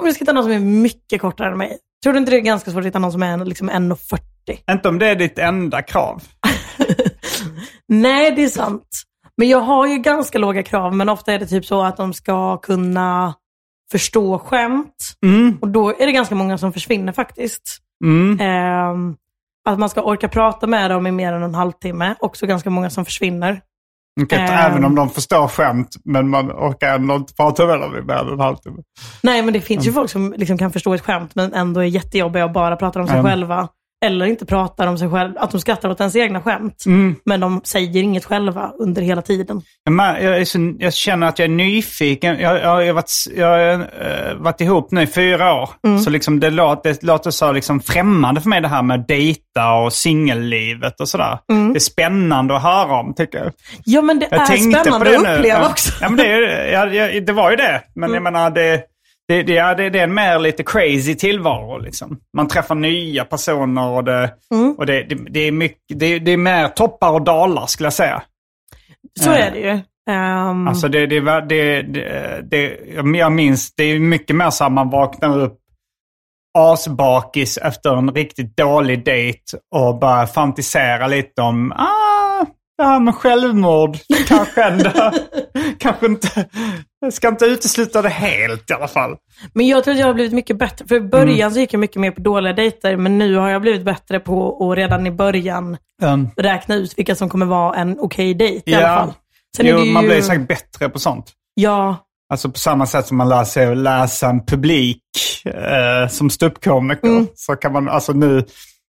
[SPEAKER 3] Om jag ska hitta någon som är mycket kortare än mig, tror du inte det är ganska svårt att hitta någon som är liksom 1,40?
[SPEAKER 2] Inte om det är ditt enda krav.
[SPEAKER 3] Nej, det är sant. Men jag har ju ganska låga krav, men ofta är det typ så att de ska kunna förstå skämt.
[SPEAKER 2] Mm.
[SPEAKER 3] Och då är det ganska många som försvinner faktiskt.
[SPEAKER 2] Mm.
[SPEAKER 3] Ehm, att man ska orka prata med dem i mer än en halvtimme. Också ganska många som försvinner.
[SPEAKER 2] Okej,
[SPEAKER 3] Ehm.
[SPEAKER 2] Även om de förstår skämt, men man orkar ändå inte prata med dem i mer än en halvtimme.
[SPEAKER 3] Nej, men det
[SPEAKER 2] Mm.
[SPEAKER 3] finns ju folk som liksom kan förstå ett skämt men ändå är jättejobbiga och bara pratar om sig
[SPEAKER 2] Mm.
[SPEAKER 3] själva. Eller inte pratar om sig själva. Att de skrattar åt ens egna skämt.
[SPEAKER 2] Mm.
[SPEAKER 3] Men de säger inget själva under hela tiden.
[SPEAKER 2] Jag, mär- jag, är så, jag känner att jag är nyfiken. Jag, jag, har ju varit, s- jag har eh, varit ihop nu i fyra år.
[SPEAKER 3] Mm.
[SPEAKER 2] Så liksom det, låter, det låter så liksom främmande för mig det här med att dejta och singellivet och sådär. Det är spännande att höra om tycker jag.
[SPEAKER 3] Ja, men Mm. det
[SPEAKER 2] Jag
[SPEAKER 3] är spännande att uppleva
[SPEAKER 2] Ja.
[SPEAKER 3] också. Mm.
[SPEAKER 2] Ja, men det, är ju- ja, ja, det var ju det. Men jag menar, det, det, det, ja, det, det är en mer lite crazy tillvaro. Liksom. Man träffar nya personer och det,
[SPEAKER 3] Mm.
[SPEAKER 2] och det, det, det, är, mycket, det, det är mer toppar och dalar skulle jag säga.
[SPEAKER 3] Så är det ju. Ehm,
[SPEAKER 2] Alltså det, det, var- det, det, det, jag minns, det är mycket mer så att man vaknar upp asbakis efter en riktigt dålig dejt och börjar fantisera lite om ah, det här med självmord. Kanske ändå, kanske inte, Jag ska inte utesluta det helt i alla fall.
[SPEAKER 3] Men jag tror att jag har blivit mycket bättre.
[SPEAKER 2] Mm.
[SPEAKER 3] För i början så gick jag mycket mer på dåliga dejter, men nu har jag blivit bättre på att redan i början
[SPEAKER 2] Um,
[SPEAKER 3] räkna ut vilka som kommer vara en okej dejt i
[SPEAKER 2] Ja.
[SPEAKER 3] alla fall. Sen är
[SPEAKER 2] jo,
[SPEAKER 3] det ju,
[SPEAKER 2] man blir säkert bättre på sånt.
[SPEAKER 3] Ja,
[SPEAKER 2] Alltså på samma sätt som man lär sig att läsa en publik eh, som ståuppkomiker. Så kan man, alltså nu,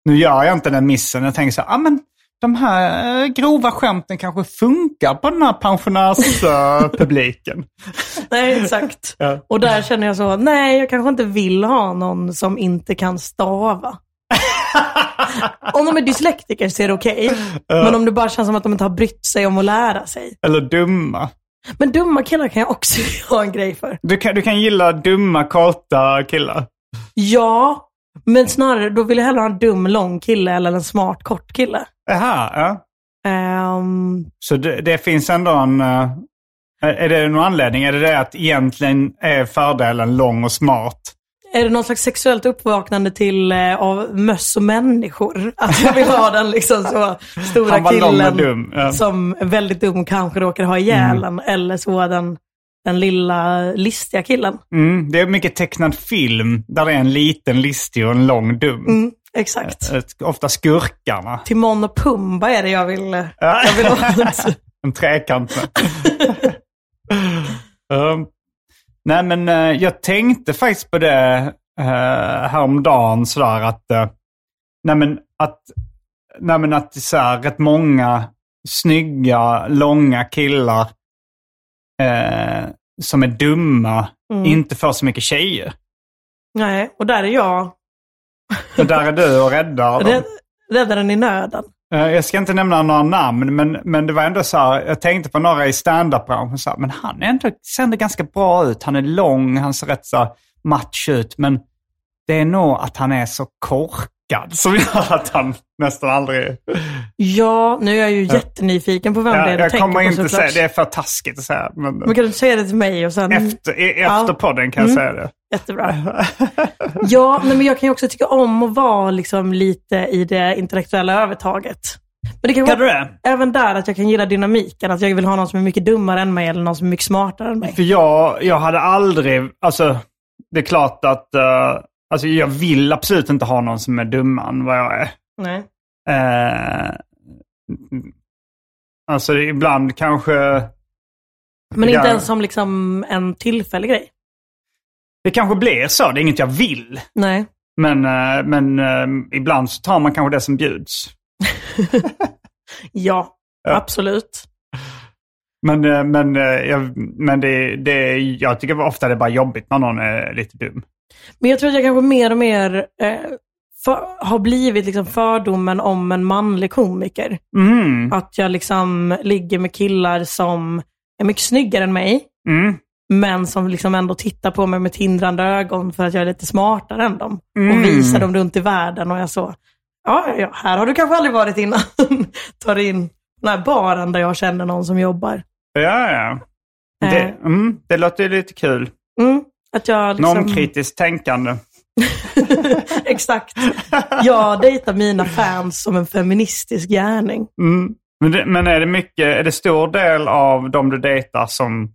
[SPEAKER 2] nu gör jag inte den missen. Jag tänker så här, ah, men de här eh, grova skämten kanske funkar på den här pensionärspubliken.
[SPEAKER 3] nej exakt.
[SPEAKER 2] Ja.
[SPEAKER 3] Och där känner jag så, nej jag kanske inte vill ha någon som inte kan stava. om de är dyslektiker så är det okej. Men om det bara känns som att de inte har brytt sig om att lära sig.
[SPEAKER 2] Eller dumma.
[SPEAKER 3] Men dumma killar kan jag också ha en grej för.
[SPEAKER 2] Du kan, du kan gilla dumma, korta killar.
[SPEAKER 3] Ja, men snarare då vill jag hellre ha en dum lång kille eller en smart kort kille.
[SPEAKER 2] Aha, ja.
[SPEAKER 3] Ehm,
[SPEAKER 2] Så det, det finns ändå en... eh, är det någon anledning? Är det det att egentligen är fördelen lång och smart?
[SPEAKER 3] är det någon slags sexuellt uppvaknande till eh, av möss och människor? Att jag vill ha den liksom så stora
[SPEAKER 2] Han var lång och
[SPEAKER 3] killen
[SPEAKER 2] dum, ja. Mm.
[SPEAKER 3] som är väldigt dum och kanske råkar ha ihjäl en, Eller så den, den lilla listiga killen.
[SPEAKER 2] Mm, det är mycket tecknad film där det är en liten listig och en lång dum.
[SPEAKER 3] Mm, exakt.
[SPEAKER 2] Ett- Ofta skurkarna.
[SPEAKER 3] Timon och Pumba är det jag vill, eh,
[SPEAKER 2] Ja.
[SPEAKER 3] jag vill ha.
[SPEAKER 2] En trekant. um, nej men eh, jag tänkte faktiskt på det uh, häromdagen sådär att, eh, nej men att, nej men att så här, rätt många snygga, långa killar eh, som är dumma
[SPEAKER 3] Mm.
[SPEAKER 2] inte får så mycket tjejer.
[SPEAKER 3] Nej, och där är jag.
[SPEAKER 2] Och där är du och räddar dem.
[SPEAKER 3] Rädd- Räddaren i nöden.
[SPEAKER 2] Eh, Jag ska inte nämna några namn, men, men det var ändå så här, jag tänkte på några i standup-branschen, så här, men han är ändå, ser ändå ganska bra ut. Han är lång, han ser rätt så här match ut, men det är nog att han är så korkad som gör att han nästan aldrig...
[SPEAKER 3] Ja, nu är jag ju jättenyfiken på vem det
[SPEAKER 2] Jag,
[SPEAKER 3] är du
[SPEAKER 2] jag
[SPEAKER 3] tänker
[SPEAKER 2] kommer
[SPEAKER 3] på
[SPEAKER 2] inte säga,
[SPEAKER 3] såklart.
[SPEAKER 2] det är för taskigt att säga, men,
[SPEAKER 3] Men kan du inte säga det till mig och sen...
[SPEAKER 2] efter, i,
[SPEAKER 3] Ja.
[SPEAKER 2] efter podden kan jag
[SPEAKER 3] Mm.
[SPEAKER 2] säga det.
[SPEAKER 3] Jättebra. Ja, nej, men jag kan ju också tycka om att vara liksom lite i det intellektuella övertaget. Men det kan,
[SPEAKER 2] Kan du
[SPEAKER 3] vara
[SPEAKER 2] det?
[SPEAKER 3] även där att jag kan gilla dynamiken. Att jag vill ha någon som är mycket dummare än mig eller någon som är mycket smartare än mig.
[SPEAKER 2] För jag, jag hade aldrig, alltså det är klart att, eh, alltså jag vill absolut inte ha någon som är dummare än vad jag är.
[SPEAKER 3] Nej.
[SPEAKER 2] Eh, alltså ibland kanske...
[SPEAKER 3] Men
[SPEAKER 2] Ja.
[SPEAKER 3] inte ens som liksom en tillfällig grej.
[SPEAKER 2] Det kanske blir så, det är inget jag vill.
[SPEAKER 3] Nej.
[SPEAKER 2] Men, eh, men eh, ibland så tar man kanske det som bjuds.
[SPEAKER 3] Ja,
[SPEAKER 2] Ja.
[SPEAKER 3] absolut.
[SPEAKER 2] Men, eh, men, eh, jag, men det, det, jag tycker ofta det är bara jobbigt när någon är lite dum.
[SPEAKER 3] Men jag tror att jag kanske mer och mer eh, för, har blivit liksom fördomen om en manlig komiker.
[SPEAKER 2] Mm,
[SPEAKER 3] Att jag liksom ligger med killar som är mycket snyggare än mig,
[SPEAKER 2] mm,
[SPEAKER 3] men som liksom ändå tittar på mig med tindrande ögon för att jag är lite smartare än dem.
[SPEAKER 2] Mm.
[SPEAKER 3] Och visar dem runt i världen och jag så, ja, ja, ja, här har du kanske aldrig varit innan. Tar in den här baren där jag känner någon som jobbar.
[SPEAKER 2] ja, ja. Det,
[SPEAKER 3] Eh.
[SPEAKER 2] mm, det låter ju lite kul.
[SPEAKER 3] Mm, att jag liksom...
[SPEAKER 2] Normkritiskt tänkande.
[SPEAKER 3] Exakt. Jag dejtar mina fans som en feministisk gärning.
[SPEAKER 2] Mm. Men, det, men är det mycket, är det stor del av de du dejtar som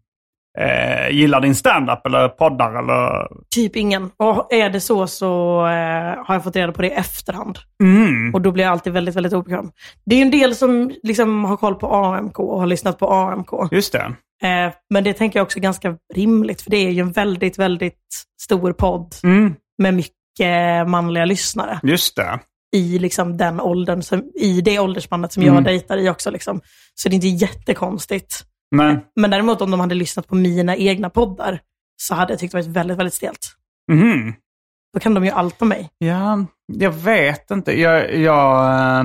[SPEAKER 2] eh, gillar din standup eller poddar eller?
[SPEAKER 3] Typ ingen. Och är det så så eh, har jag fått reda på det i efterhand.
[SPEAKER 2] Mm.
[SPEAKER 3] Och då blir jag alltid väldigt, väldigt obekväm. Det är ju en del som liksom har koll på AMK och har lyssnat på AMK.
[SPEAKER 2] Just det.
[SPEAKER 3] Eh, men det tänker jag också är ganska rimligt, för det är ju en väldigt, väldigt stor podd
[SPEAKER 2] Mm.
[SPEAKER 3] med mycket manliga lyssnare
[SPEAKER 2] Just det.
[SPEAKER 3] i liksom den åldern, som, i det åldersspannet som jag dejtar i också. Liksom. Så det är inte jättekonstigt.
[SPEAKER 2] Men,
[SPEAKER 3] Men däremot om de hade lyssnat på mina egna poddar så hade jag tyckt det varit väldigt, väldigt stelt.
[SPEAKER 2] mhm.
[SPEAKER 3] Då kan de ju allt om mig.
[SPEAKER 2] ja, jag vet inte. Jag, jag, eh,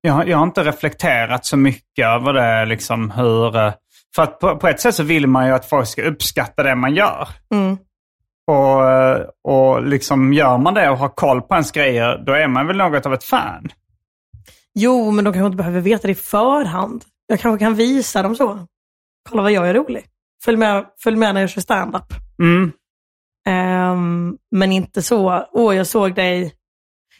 [SPEAKER 2] jag, har- jag har inte reflekterat så mycket över det, liksom hur... eh, För att på, på ett sätt så vill man ju att folk ska uppskatta det man gör.
[SPEAKER 3] Mm.
[SPEAKER 2] Och, eh, och liksom gör man det och har koll på ens grejer, då är man väl något av ett fan.
[SPEAKER 3] Jo, men de kanske inte behöver veta det i förhand. Jag kanske kan visa dem så. Kolla vad jag är rolig. Följ med, följ med när jag kör stand-up.
[SPEAKER 2] Mm.
[SPEAKER 3] Ehm, men inte så, åh jag såg dig.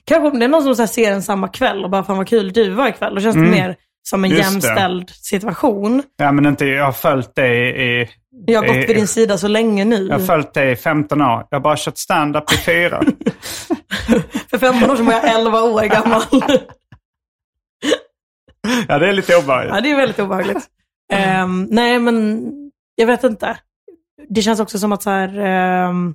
[SPEAKER 3] Kanske om det är någon som så här ser en samma kväll och bara, fan vad kul du var ikväll. Då känns det mer som en
[SPEAKER 2] Mm. Just det.
[SPEAKER 3] jämställd situation.
[SPEAKER 2] Ja, men inte, jag har följt dig i,
[SPEAKER 3] Jag har gått vid din sida så länge nu.
[SPEAKER 2] Jag har följt dig i 15 år. Jag har bara kört stand-up i fyra.
[SPEAKER 3] För 15 år sedan var jag 11 år gammal.
[SPEAKER 2] ja, det är lite obehagligt. Mm.
[SPEAKER 3] ja, det är väldigt obehagligt. Ehm, nej, men jag vet inte. Det känns också som att så här, ehm,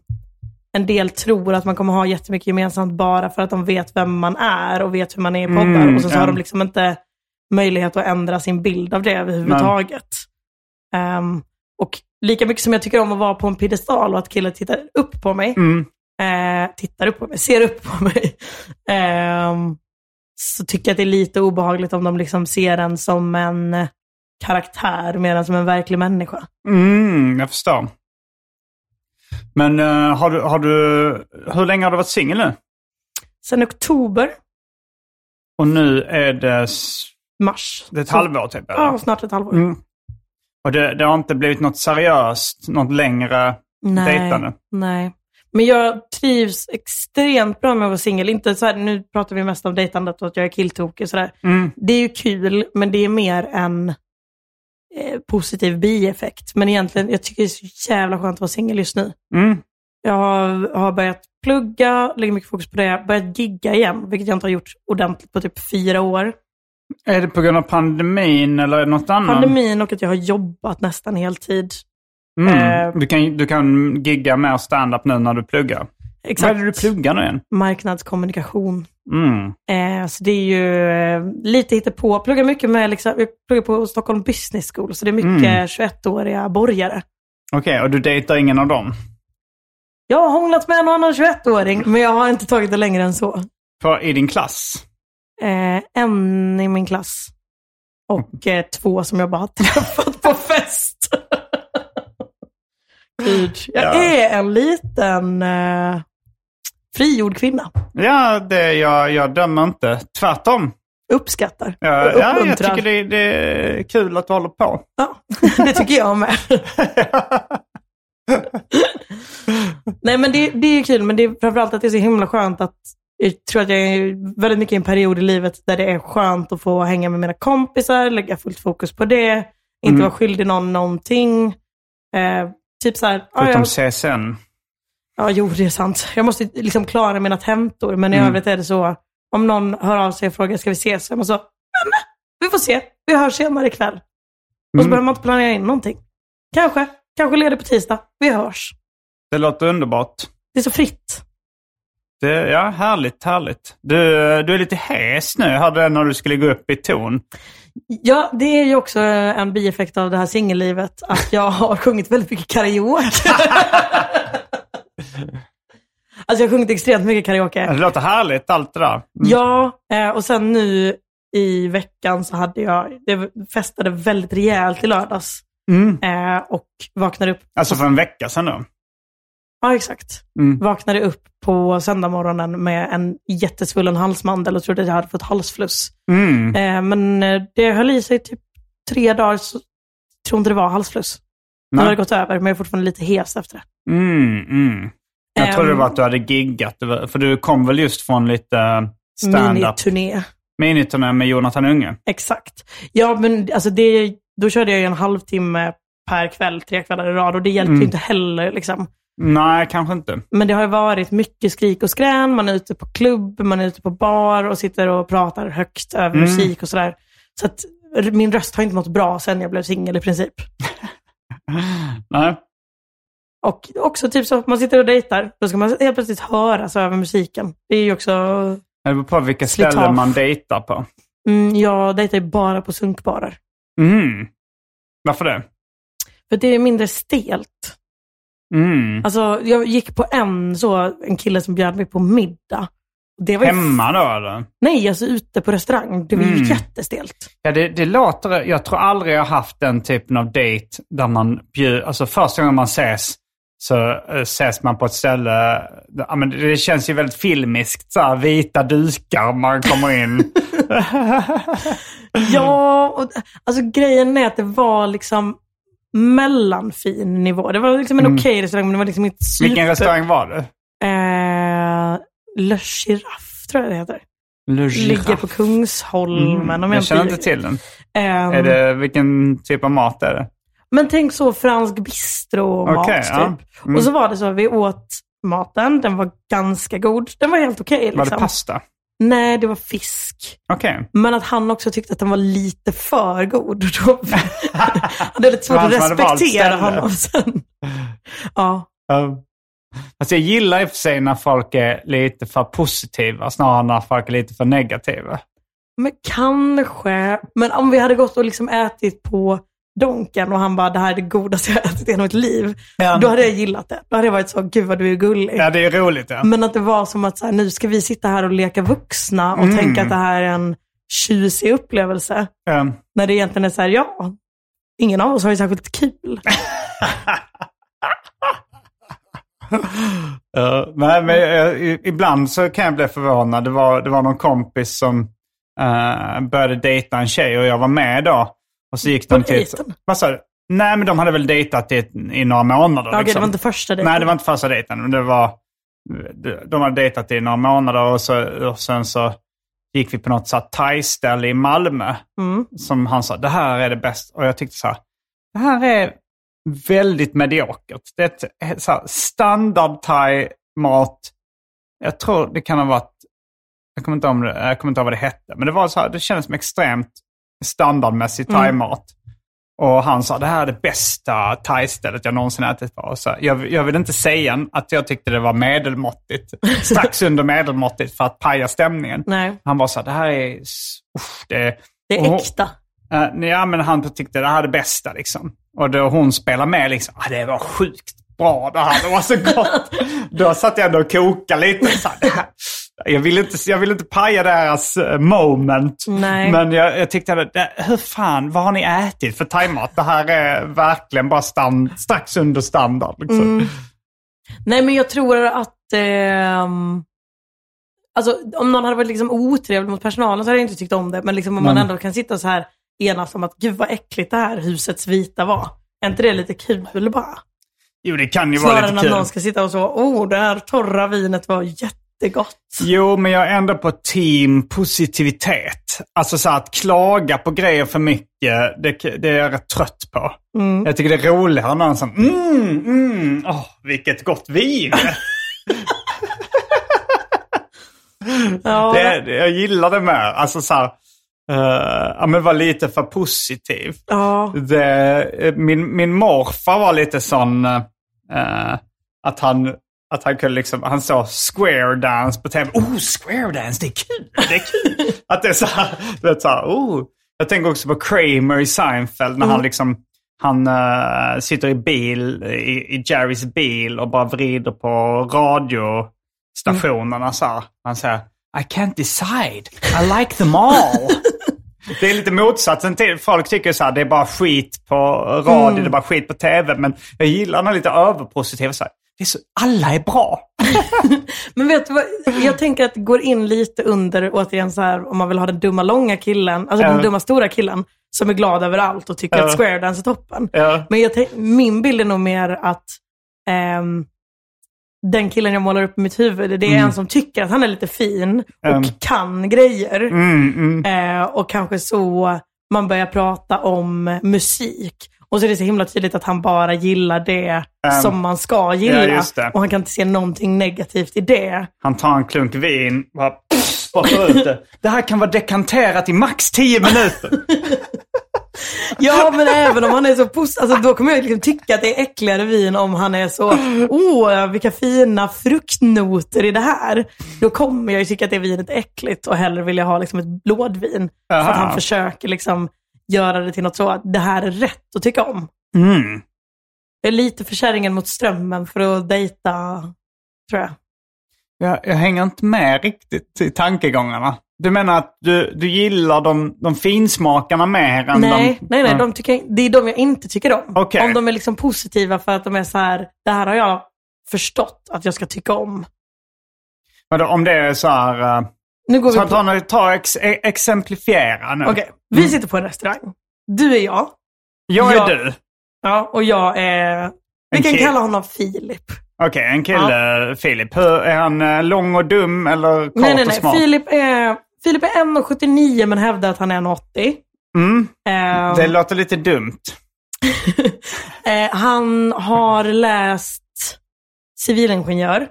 [SPEAKER 3] en del tror att man kommer ha jättemycket gemensamt bara för att de vet vem man är och vet hur man är i poddar.
[SPEAKER 2] Mm,
[SPEAKER 3] och så, så har
[SPEAKER 2] ja.
[SPEAKER 3] de liksom inte möjlighet att ändra sin bild av det överhuvudtaget. Ehm, och lika mycket som jag tycker om att vara på en piedestal och att killar tittar upp på mig,
[SPEAKER 2] Mm.
[SPEAKER 3] eh, tittar upp på mig, ser upp på mig, ehm, så tycker jag att det är lite obehagligt om de liksom ser en som en karaktär mer än som en verklig människa.
[SPEAKER 2] Mm, jag förstår. Men eh, har, du, har du... Hur länge har du varit singel nu?
[SPEAKER 3] Sen oktober,
[SPEAKER 2] Och nu är det, s-
[SPEAKER 3] mars.
[SPEAKER 2] det är ett
[SPEAKER 3] Så-
[SPEAKER 2] halvår typ? eller?
[SPEAKER 3] Ja, snart ett halvår.
[SPEAKER 2] Mm. Och det, det har inte blivit något seriöst, något längre dejtande?
[SPEAKER 3] nej. Men jag trivs extremt bra med att vara singel. Inte så här, nu pratar vi mest om dejtandet och att jag är killtokig och sådär.
[SPEAKER 2] Mm.
[SPEAKER 3] Det är ju kul, men det är mer en eh, positiv bieffekt. Men egentligen, jag tycker det är så jävla skönt att vara singel just nu.
[SPEAKER 2] Mm.
[SPEAKER 3] Jag har, har börjat plugga, lägger mycket fokus på det. Börjat gigga igen, vilket jag inte har gjort ordentligt på typ fyra
[SPEAKER 2] Mm.
[SPEAKER 3] år.
[SPEAKER 2] Är det på grund av pandemin eller är det något annat?
[SPEAKER 3] Pandemin och att jag har jobbat nästan heltid. eh,
[SPEAKER 2] Mm. Du, kan, du kan gigga mer stand-up nu när du pluggar. Vad är
[SPEAKER 3] Exakt.
[SPEAKER 2] det du pluggar nu igen?
[SPEAKER 3] Marknadskommunikation.
[SPEAKER 2] Mm.
[SPEAKER 3] Eh, så det är ju eh, lite hittepå. Jag pluggar mycket med, liksom, jag pluggar på Stockholm Business School, så det är mycket
[SPEAKER 2] Mm.
[SPEAKER 3] 21-åriga borgare.
[SPEAKER 2] Okej, och du dejtar ingen av dem?
[SPEAKER 3] Jag har hånglat med en och annan 21-åring, men jag har inte tagit det längre än så.
[SPEAKER 2] På, I din klass?
[SPEAKER 3] Eh, en i min klass och
[SPEAKER 2] Mm.
[SPEAKER 3] eh, två som jag bara har träffat på fest. Gud, jag
[SPEAKER 2] Ja.
[SPEAKER 3] är en liten eh, frigjord kvinna.
[SPEAKER 2] Ja, det, jag, jag dömer inte. Tvärtom.
[SPEAKER 3] Uppskattar.
[SPEAKER 2] Ja, ja,
[SPEAKER 3] och
[SPEAKER 2] jag
[SPEAKER 3] uppmuntrar.
[SPEAKER 2] tycker det, det är kul att du håller på.
[SPEAKER 3] Ja, det tycker jag med. Nej, men det, det är kul, men det är framförallt att det är så himla skönt att jag tror att jag är väldigt mycket i en period i livet där det är skönt att få hänga med mina kompisar, lägga fullt fokus på det, inte
[SPEAKER 2] Mm.
[SPEAKER 3] vara skyldig någon någonting. Eh, typ så här, ja,
[SPEAKER 2] Förutom
[SPEAKER 3] jag,
[SPEAKER 2] CSN.
[SPEAKER 3] ja, jo det är sant. Jag måste liksom klara mina tentor, men i
[SPEAKER 2] Mm.
[SPEAKER 3] övrigt är det så, om någon hör av sig och frågar, ska vi ses? Så är man så, "Ja, men, vi får se, vi hörs senare ikväll. Och så
[SPEAKER 2] Mm.
[SPEAKER 3] behöver man inte planera in någonting. Kanske, kanske leder på tisdag, vi hörs.
[SPEAKER 2] Det låter underbart.
[SPEAKER 3] Det är så fritt.
[SPEAKER 2] Det, ja, härligt, härligt. Du, du är lite hes nu. Jag hörde det när du skulle gå upp i ton.
[SPEAKER 3] Ja, det är ju också eh, en bieffekt av det här singellivet, att jag har sjungit väldigt mycket karaoke. alltså jag har sjungit extremt
[SPEAKER 2] Det
[SPEAKER 3] mycket karaoke.
[SPEAKER 2] låter härligt, allt det där. Mm.
[SPEAKER 3] Ja, eh, och sen nu i veckan så hade jag, jag festade väldigt rejält i lördags
[SPEAKER 2] Mm.
[SPEAKER 3] eh, och vaknade upp,
[SPEAKER 2] Alltså för en vecka sedan då.
[SPEAKER 3] ja exakt,
[SPEAKER 2] Mm.
[SPEAKER 3] vaknade upp på söndagmorgonen med en jättesvullen halsmandel och trodde att jag hade fått halsfluss.
[SPEAKER 2] Mm.
[SPEAKER 3] Eh, men eh, det höll i sig typ tre dagar, så jag tror inte det var halsfluss. Nu
[SPEAKER 2] Nej.
[SPEAKER 3] har det gått över, men jag är fortfarande lite hes efter det.
[SPEAKER 2] Mm, mm. Jag
[SPEAKER 3] Ehm,
[SPEAKER 2] trodde det var att du hade giggat. Det var- För du kom väl just från lite eh, stand-up?
[SPEAKER 3] Miniturné.
[SPEAKER 2] Miniturné med Jonathan Unge.
[SPEAKER 3] Exakt. Ja, men alltså det, då körde jag ju en halvtimme per kväll, tre kvällar i rad och det hjälpte
[SPEAKER 2] Mm.
[SPEAKER 3] ju inte heller. Liksom.
[SPEAKER 2] Nej, kanske inte.
[SPEAKER 3] Men det har ju varit mycket skrik och skrän. Man är ute på klubb, man är ute på bar och sitter och pratar högt över
[SPEAKER 2] Mm.
[SPEAKER 3] musik och sådär. Så att r- min röst har inte mått bra sen jag blev singel i princip.
[SPEAKER 2] Nej.
[SPEAKER 3] Och också typ så att man sitter och dejtar, då ska man helt plötsligt höra så över musiken. Det är ju också,
[SPEAKER 2] Det beror på vilka
[SPEAKER 3] Slitage.
[SPEAKER 2] ställen man dejtar på.
[SPEAKER 3] mm, jag dejtar ju bara på sunkbarer.
[SPEAKER 2] Mm. Varför det?
[SPEAKER 3] För det är mindre stelt.
[SPEAKER 2] Mm.
[SPEAKER 3] Alltså jag gick på en så, en kille som bjöd mig på middag. Det var ju-
[SPEAKER 2] Hemma då eller?
[SPEAKER 3] Nej, alltså ute på restaurang. Det var ju
[SPEAKER 2] Mm.
[SPEAKER 3] jättestelt.
[SPEAKER 2] Ja, det, det låter... Jag tror aldrig jag har haft den typen av date där man bjud, Alltså första gången man ses så eh, ses man på ett ställe... Ja, men det, det känns ju väldigt filmiskt. Så här, vita dukar, man kommer in.
[SPEAKER 3] Ja, och, alltså grejen är att det var liksom mellanfin nivå. Det var liksom en okej restaurang, men det var liksom inte super...
[SPEAKER 2] Mm. Vilken restaurang var det?
[SPEAKER 3] Eh, Le Giraffe tror jag det heter.
[SPEAKER 2] Le
[SPEAKER 3] Ligger på Kungsholmen. om
[SPEAKER 2] Mm, jag känner inte till den.
[SPEAKER 3] Ehm,
[SPEAKER 2] Är det, vilken typ av mat är det?
[SPEAKER 3] Men tänk så fransk bistro-mat
[SPEAKER 2] Okej,
[SPEAKER 3] typ.
[SPEAKER 2] ja. Mm.
[SPEAKER 3] Och så var det så, vi åt maten, den var ganska god. Den var helt okej.
[SPEAKER 2] Var det
[SPEAKER 3] liksom.
[SPEAKER 2] pasta?
[SPEAKER 3] Nej, det var fisk.
[SPEAKER 2] Okej.
[SPEAKER 3] Men att han också tyckte att den var lite för god. Och Då hade jag lite svårt
[SPEAKER 2] Det var
[SPEAKER 3] att
[SPEAKER 2] han som hade valt
[SPEAKER 3] respektera
[SPEAKER 2] ställe.
[SPEAKER 3] honom sen. Ja,
[SPEAKER 2] Ja. Alltså Eh, jag gillar i och för sig när folk är lite för positiva snarare än när folk är lite för negativa.
[SPEAKER 3] men kanske. Men om vi hade gått och liksom ätit på Donken och han bara, det här är det godaste jag har ätit i hela mitt liv.
[SPEAKER 2] Ja.
[SPEAKER 3] Då hade jag gillat det. Då hade jag varit så, gud vad du är gullig.
[SPEAKER 2] Ja, det är roligt. Ja.
[SPEAKER 3] Men att det var som att så här, nu ska vi sitta här och leka vuxna och
[SPEAKER 2] Mm.
[SPEAKER 3] tänka att det här är en tjusig upplevelse.
[SPEAKER 2] Ja.
[SPEAKER 3] När det egentligen är så här, ja, ingen av oss har ju särskilt kul.
[SPEAKER 2] Ja, nej, eh, men jag, i- ibland så kan jag bli förvånad. Det var, det var någon kompis som eh, började dejta en tjej och jag var med då. Och så gick de
[SPEAKER 3] På
[SPEAKER 2] till...
[SPEAKER 3] dejten?
[SPEAKER 2] Vad sa du? Nej, men de hade väl dejtat i, i några månader.
[SPEAKER 3] Okej, det
[SPEAKER 2] liksom.
[SPEAKER 3] var inte första dejten.
[SPEAKER 2] Nej, det var inte första dejten. Men det var, de hade dejtat i några månader och, så, och sen så gick vi på något så här thai-ställe i Malmö.
[SPEAKER 3] Mm.
[SPEAKER 2] Som han sa, det här är det bästa. Och jag tyckte så här, det här är väldigt mediokert. Det är ett så här, standard thai-mat. Jag tror det kan ha varit, jag kommer inte ihåg, om det- jag kommer inte ihåg vad det hette, men det var så här, det kändes som extremt standardmässig
[SPEAKER 3] Mm.
[SPEAKER 2] thai-mat. Och han sa det här är det bästa thaistället jag någonsin ätit på. Och Så jag, jag vill inte säga att jag tyckte det var medelmåttigt, strax under medelmåttigt för att paja stämningen.
[SPEAKER 3] Nej,
[SPEAKER 2] Han var så här, det här är... s- Uff, det,
[SPEAKER 3] det är
[SPEAKER 2] och hon-
[SPEAKER 3] äkta.
[SPEAKER 2] Eh, nej, ja, men han tyckte det här är det bästa liksom. Och då hon spelar med liksom, ah, det var sjukt bra det här, det var så gott. då satt jag ändå och kokade lite. Så här, det här. Jag ville inte, jag vill inte paja deras eh, moment.
[SPEAKER 3] Nej.
[SPEAKER 2] Men jag, jag tyckte, att det, hur fan, vad har ni ätit för thaimat? Det här är verkligen bara stand, strax under standard. Liksom.
[SPEAKER 3] Mm. Nej, men jag tror att... ehm, alltså, om någon hade varit liksom otrevlig mot personalen så hade jag inte tyckt om det. Men liksom, om man
[SPEAKER 2] Men-
[SPEAKER 3] ändå kan sitta så här enas om att gud vad äckligt det här husets vita var. Är inte det lite kul bara?
[SPEAKER 2] Jo, det kan ju vara
[SPEAKER 3] Snarare
[SPEAKER 2] lite
[SPEAKER 3] än
[SPEAKER 2] kul.
[SPEAKER 3] att någon ska sitta och så, oh det här torra vinet var jättegott.
[SPEAKER 2] Jo, men jag är ändå på team positivitet. Alltså så här, att klaga på grejer för mycket, det, det är jag rätt trött på. Jag tycker det är roligare när någon som mm, mm, åh, vilket gott vin.
[SPEAKER 3] Ja,
[SPEAKER 2] det, det, jag gillar det med. Alltså så här, eh, ja men var lite för positiv.
[SPEAKER 3] ja.
[SPEAKER 2] Det, eh, min, min morfar var lite sån eh, eh, att han att han kunde liksom, han sa square dance på tv. Oh, square dance, det är kul! Det är kul! att det är så här, du vet så här, oh. Jag tänker också på Kramer i Seinfeld när han liksom, han eh, sitter i bil, i, i Jerrys bil och bara vrider på radiostationerna så här. Han säger, I can't decide, I like them all. Det är lite motsatsen till, folk tycker så här, det är bara skit på radio,
[SPEAKER 3] Mm.
[SPEAKER 2] det är bara skit på tv. Men jag gillar när lite överpositiva så här, det är så, alla är bra.
[SPEAKER 3] Men vet du vad, jag tänker att det går in lite under, återigen så här, om man vill ha den dumma långa killen, alltså
[SPEAKER 2] Ja.
[SPEAKER 3] den dumma stora killen, som är glad över allt och tycker
[SPEAKER 2] Ja.
[SPEAKER 3] att square dance är toppen.
[SPEAKER 2] Ja.
[SPEAKER 3] Men jag tänk- min bild är nog mer att ehm, den killen jag målar upp i mitt huvud, det är en som tycker att han är lite fin och
[SPEAKER 2] Mm.
[SPEAKER 3] kan grejer.
[SPEAKER 2] Mm, mm.
[SPEAKER 3] Eh, och kanske så man börjar prata om musik. Och så är det så himla tydligt att han bara gillar det
[SPEAKER 2] Ehm,
[SPEAKER 3] som man ska gilla.
[SPEAKER 2] ja, just det.
[SPEAKER 3] Och han kan inte se någonting negativt i det.
[SPEAKER 2] Han tar en klunk vin, bara spottar ut det. Det här kan vara dekanterat i max 10 minuter.
[SPEAKER 3] Ja, men även om han är så positiv, alltså, då kommer jag liksom tycka att det är äckligare vin om han är så, åh, vilka fina fruktnoter i det här. Då kommer jag ju tycka att det vinet är äckligt och hellre vill jag ha liksom ett blådvin. För att
[SPEAKER 2] Aha.
[SPEAKER 3] han försöker liksom göra det till något så, att det här är rätt att tycka om.
[SPEAKER 2] Mm.
[SPEAKER 3] Det är lite för kärringen mot strömmen för att dejta, tror jag.
[SPEAKER 2] Jag, jag hänger inte med riktigt i tankegångarna. Du menar att du, du gillar de, de finsmakarna mer än
[SPEAKER 3] nej,
[SPEAKER 2] de...
[SPEAKER 3] nej, nej,
[SPEAKER 2] Ja.
[SPEAKER 3] de tycker, jag- det är de jag inte tycker om.
[SPEAKER 2] Okej.
[SPEAKER 3] Om de är liksom positiva för att de är så här, det här har jag förstått att jag ska tycka om.
[SPEAKER 2] Vadå, Om det är så här... eh,
[SPEAKER 3] Nu går vi
[SPEAKER 2] Så
[SPEAKER 3] på
[SPEAKER 2] ta, ta, ta ex, e- exemplifiera nu.
[SPEAKER 3] Okej, vi
[SPEAKER 2] Mm.
[SPEAKER 3] sitter på en restaurang. Du är jag.
[SPEAKER 2] Jag är
[SPEAKER 3] Ja.
[SPEAKER 2] du.
[SPEAKER 3] Ja, och jag är... Vi
[SPEAKER 2] En
[SPEAKER 3] kan
[SPEAKER 2] kille.
[SPEAKER 3] kalla honom Filip.
[SPEAKER 2] Okej, en kille, Filip. Hur, är han eh, lång och dum eller kort
[SPEAKER 3] nej, nej,
[SPEAKER 2] och
[SPEAKER 3] nej.
[SPEAKER 2] smart?
[SPEAKER 3] Filip är, Filip är 1,79 men hävdar att han är 1,80.
[SPEAKER 2] Mm,
[SPEAKER 3] Ehm,
[SPEAKER 2] det låter lite dumt.
[SPEAKER 3] Eh, han har läst civilingenjör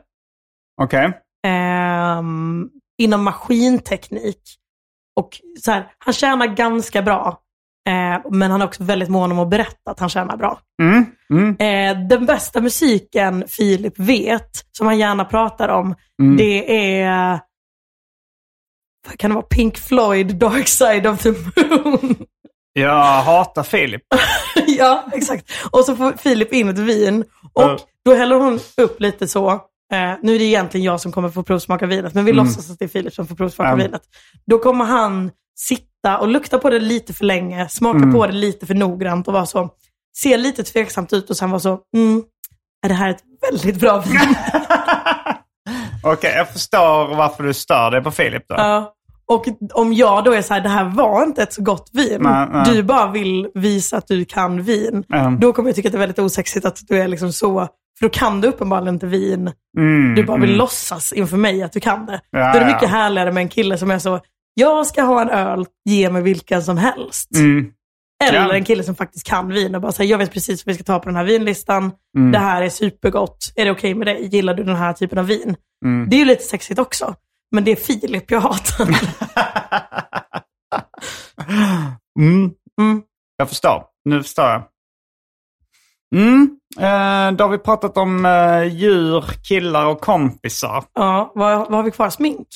[SPEAKER 2] Okej.
[SPEAKER 3] ehm, inom maskinteknik. Och så här, han tjänar ganska bra, eh, men han är också väldigt mån om att berätta att han tjänar bra.
[SPEAKER 2] Mm, mm.
[SPEAKER 3] Eh, den bästa musiken Filip vet, som han gärna pratar om,
[SPEAKER 2] Mm.
[SPEAKER 3] det är vad kan det vara? Pink Floyd, Dark Side of the Moon.
[SPEAKER 2] Jag hatar Filip.
[SPEAKER 3] ja, exakt. Och så får Filip in ett vin och
[SPEAKER 2] Ja.
[SPEAKER 3] då häller hon upp lite så. Eh, nu är det egentligen jag som kommer få provsmaka vinet, men vi
[SPEAKER 2] Mm.
[SPEAKER 3] låtsas att det är Filip som får provsmaka
[SPEAKER 2] Ja.
[SPEAKER 3] vinet. Då kommer han sitta och lukta på det lite för länge, smaka
[SPEAKER 2] Mm.
[SPEAKER 3] på det lite för noggrant och vara så, se lite tveksamt ut och sen vara så, mm, är det här ett väldigt bra vin?
[SPEAKER 2] Okej, jag förstår varför du stör dig på Filip då.
[SPEAKER 3] Ja. Och om jag då är så här, det här var inte ett så gott vin.
[SPEAKER 2] Nej, nej.
[SPEAKER 3] Du bara vill visa att du kan vin.
[SPEAKER 2] Ja.
[SPEAKER 3] Då kommer jag tycka att det är väldigt osexigt att du är liksom så. För då kan du uppenbarligen inte vin.
[SPEAKER 2] Mm,
[SPEAKER 3] Du bara vill
[SPEAKER 2] mm.
[SPEAKER 3] låtsas inför mig att du kan det.
[SPEAKER 2] Ja,
[SPEAKER 3] då är det
[SPEAKER 2] ja.
[SPEAKER 3] mycket härligare med en kille som är så, jag ska ha en öl, ge mig vilken som helst.
[SPEAKER 2] Mm.
[SPEAKER 3] Eller
[SPEAKER 2] Ja.
[SPEAKER 3] en kille som faktiskt kan vin och bara säger, jag vet precis vad vi ska ta på den här vinlistan.
[SPEAKER 2] Mm.
[SPEAKER 3] Det här är supergott. Är det okej med dig? Gillar du den här typen av vin?
[SPEAKER 2] Mm.
[SPEAKER 3] Det är ju lite sexigt också. Men det är Filip jag hatar.
[SPEAKER 2] Mm.
[SPEAKER 3] Mm.
[SPEAKER 2] Jag förstår. Nu förstår jag. Mm. Eh, då har vi pratat om eh, djur, killar och kompisar.
[SPEAKER 3] Ja, vad, vad har vi kvar? Smink?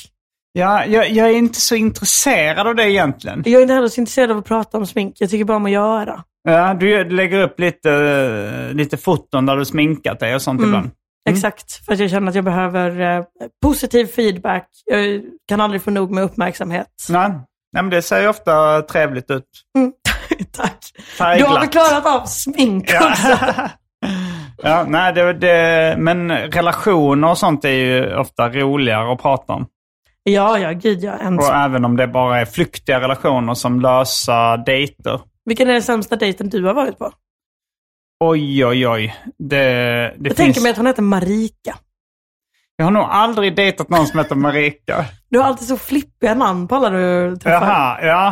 [SPEAKER 2] Ja, jag, jag är inte så intresserad av det egentligen.
[SPEAKER 3] Jag är inte heller så intresserad av att prata om smink. Jag tycker bara om att göra.
[SPEAKER 2] Ja, du lägger upp lite, eh, lite foton där du sminkat dig och sånt
[SPEAKER 3] Mm.
[SPEAKER 2] ibland.
[SPEAKER 3] Exakt, för att jag känner att jag behöver eh, positiv feedback. Jag kan aldrig få nog med uppmärksamhet.
[SPEAKER 2] Nej. Nej, men det ser ju ofta trevligt ut.
[SPEAKER 3] Mm. Tack. Du har
[SPEAKER 2] Färgglatt.
[SPEAKER 3] vi klarat av smink
[SPEAKER 2] Ja.
[SPEAKER 3] också.
[SPEAKER 2] ja, nej, det, det, men relationer och sånt är ju ofta roligare att prata om.
[SPEAKER 3] Ja, ja, gud ja. En...
[SPEAKER 2] Och även om det bara är flyktiga relationer som lösa dejter.
[SPEAKER 3] Vilken är den sämsta dejten du har varit på?
[SPEAKER 2] Oj, oj, oj. Det, det
[SPEAKER 3] jag
[SPEAKER 2] finns...
[SPEAKER 3] tänker mig att hon heter Marika.
[SPEAKER 2] Jag har nog aldrig dejtat någon som heter Marika.
[SPEAKER 3] Du har alltid så flippiga namn på alla du träffar.
[SPEAKER 2] Jaha, ja.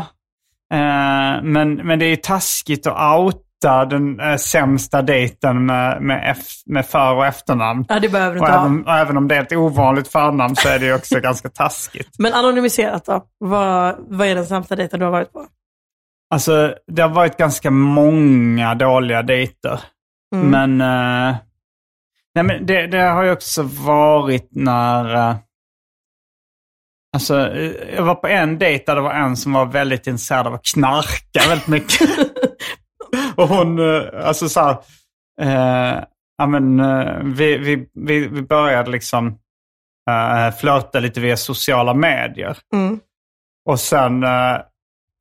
[SPEAKER 2] Eh, men, men det är ju taskigt att outa den eh, sämsta dejten med, med, F, med för och efternamn.
[SPEAKER 3] Ja, det behöver du
[SPEAKER 2] Och
[SPEAKER 3] inte ha.
[SPEAKER 2] även, och även om det är ett ovanligt förnamn så är det ju också ganska taskigt.
[SPEAKER 3] Men anonymiserat då? Vad, vad är den sämsta dejten du har varit på?
[SPEAKER 2] Alltså, det har varit ganska många dåliga dejter.
[SPEAKER 3] Mm.
[SPEAKER 2] Men, eh, nej, men det, det har ju också varit när... eh, alltså, eh, jag var på en dejt där det var en som var väldigt intresserad av att knarka väldigt mycket. Och hon, eh, alltså så här, eh, ja men eh, vi, vi, vi, vi började liksom eh, flörta lite via sociala medier.
[SPEAKER 3] Mm.
[SPEAKER 2] Och sen, eh,